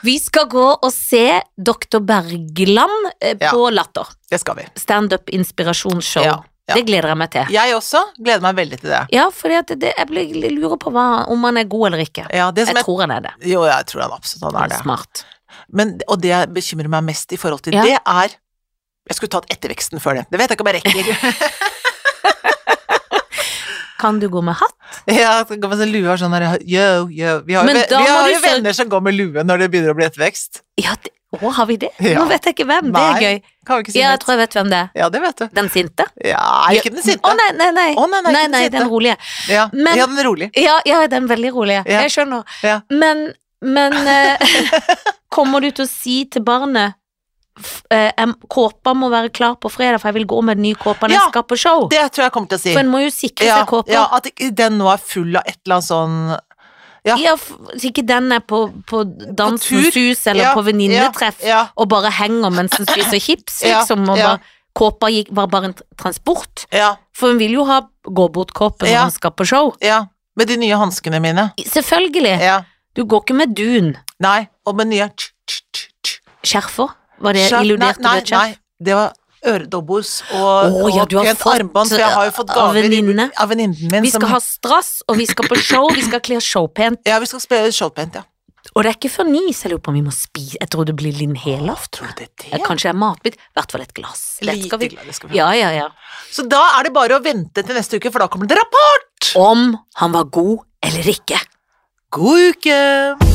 Speaker 2: Vi skal gå og se Dr. Bergland eh,
Speaker 1: Ja.
Speaker 2: på Latter.
Speaker 1: Det skal vi.
Speaker 2: Standup-inspirasjonsshow.
Speaker 1: Ja, ja.
Speaker 2: Det gleder jeg meg til.
Speaker 1: Jeg også gleder meg veldig til det.
Speaker 2: Ja, for jeg blir- jeg lurer på hva, om han er god eller ikke.
Speaker 1: Ja, det som
Speaker 2: Jeg
Speaker 1: jeg,
Speaker 2: tror han er det.
Speaker 1: jo, jeg tror han absolutt han
Speaker 2: Han
Speaker 1: er det.
Speaker 2: Smart.
Speaker 1: Men, og det jeg bekymrer meg mest i forhold til
Speaker 2: Ja.
Speaker 1: det, er Jeg skulle tatt etterveksten før det. Det vet jeg ikke om jeg rekker.
Speaker 2: Kan du gå med hatt?
Speaker 1: ja, så går med sånn lue og sånn her Yo, yo. Vi har, jo
Speaker 2: Men
Speaker 1: ve-
Speaker 2: da
Speaker 1: vi
Speaker 2: må
Speaker 1: har
Speaker 2: du
Speaker 1: jo
Speaker 2: sørge-
Speaker 1: venner som går med lue når det begynner å bli ettervekst.
Speaker 2: Ja, det, å, har vi det?
Speaker 1: Ja.
Speaker 2: Nå vet jeg ikke hvem. Det
Speaker 1: Nei.
Speaker 2: er gøy.
Speaker 1: Kan vi ikke si
Speaker 2: Ja, jeg
Speaker 1: det?
Speaker 2: tror jeg vet hvem det er.
Speaker 1: Ja, det vet du.
Speaker 2: Den sinte?
Speaker 1: Ja, ikke den sinte.
Speaker 2: Å, nei, nei, nei.
Speaker 1: Å, nei, nei, ikke
Speaker 2: nei,
Speaker 1: den
Speaker 2: nei,
Speaker 1: sinte.
Speaker 2: den rolige.
Speaker 1: Ja,
Speaker 2: Men-
Speaker 1: ja, den er rolig.
Speaker 2: Ja, ja, den veldig rolige.
Speaker 1: Ja.
Speaker 2: Jeg skjønner.
Speaker 1: Ja.
Speaker 2: Men, men eh, Kommer du til å si til barnet f- eh, em, Kåpa må være klar på fredag, for jeg vil gå med den nye kåpa når
Speaker 1: Ja,
Speaker 2: jeg skal på show.
Speaker 1: Det tror jeg jeg kommer til å si.
Speaker 2: For en må jo sikre
Speaker 1: ja,
Speaker 2: seg kåpa.
Speaker 1: ja,
Speaker 2: Ja,
Speaker 1: at ikke den nå er full av et eller annet sånn ja.
Speaker 2: f- så ikke den er på, på
Speaker 1: tur.
Speaker 2: Dansens hus eller
Speaker 1: Ja,
Speaker 2: på venninnetreff
Speaker 1: Ja,
Speaker 2: og bare henger mens den spiser chips,
Speaker 1: Ja,
Speaker 2: liksom. Og
Speaker 1: ja.
Speaker 2: bare, kåpa gikk, var bare en t- transport.
Speaker 1: ja,
Speaker 2: For hun vil jo ha gå-bort-kåpe
Speaker 1: Ja.
Speaker 2: når hun skal på show.
Speaker 1: ja. Med de nye hanskene mine.
Speaker 2: Selvfølgelig.
Speaker 1: Ja.
Speaker 2: Du går ikke med dun.
Speaker 1: Nei. Og med nye tsk, tsk, tsk, tsk.
Speaker 2: Skjerfer? Var det
Speaker 1: Skjerf-
Speaker 2: illudert
Speaker 1: nei,
Speaker 2: du et skjerf?
Speaker 1: nei, nei, det var øredobbers og,
Speaker 2: Å, ja,
Speaker 1: og
Speaker 2: du har
Speaker 1: pent
Speaker 2: fått eh,
Speaker 1: armbånd, for jeg har jo fått
Speaker 2: av
Speaker 1: gaver i-
Speaker 2: venninne.
Speaker 1: av venninnen min.
Speaker 2: Vi skal
Speaker 1: som,
Speaker 2: ha strass, og vi skal på show, vi skal kle oss showpent.
Speaker 1: Ja, vi skal spille showpent, ja.
Speaker 2: Og det er ikke før ni, så jeg lurer på om vi må spise Jeg tror det blir linn helaften.
Speaker 1: Tror du det er
Speaker 2: Ja,
Speaker 1: det?
Speaker 2: Kanskje det er matbit. I hvert fall et glass. Det
Speaker 1: Lite
Speaker 2: skal vi.
Speaker 1: glad, det skal vi ha.
Speaker 2: Ja, ja, ja.
Speaker 1: Så da er det bare å vente til neste uke, for da kommer det rapport!
Speaker 2: Om han var god eller ikke.
Speaker 1: God uke!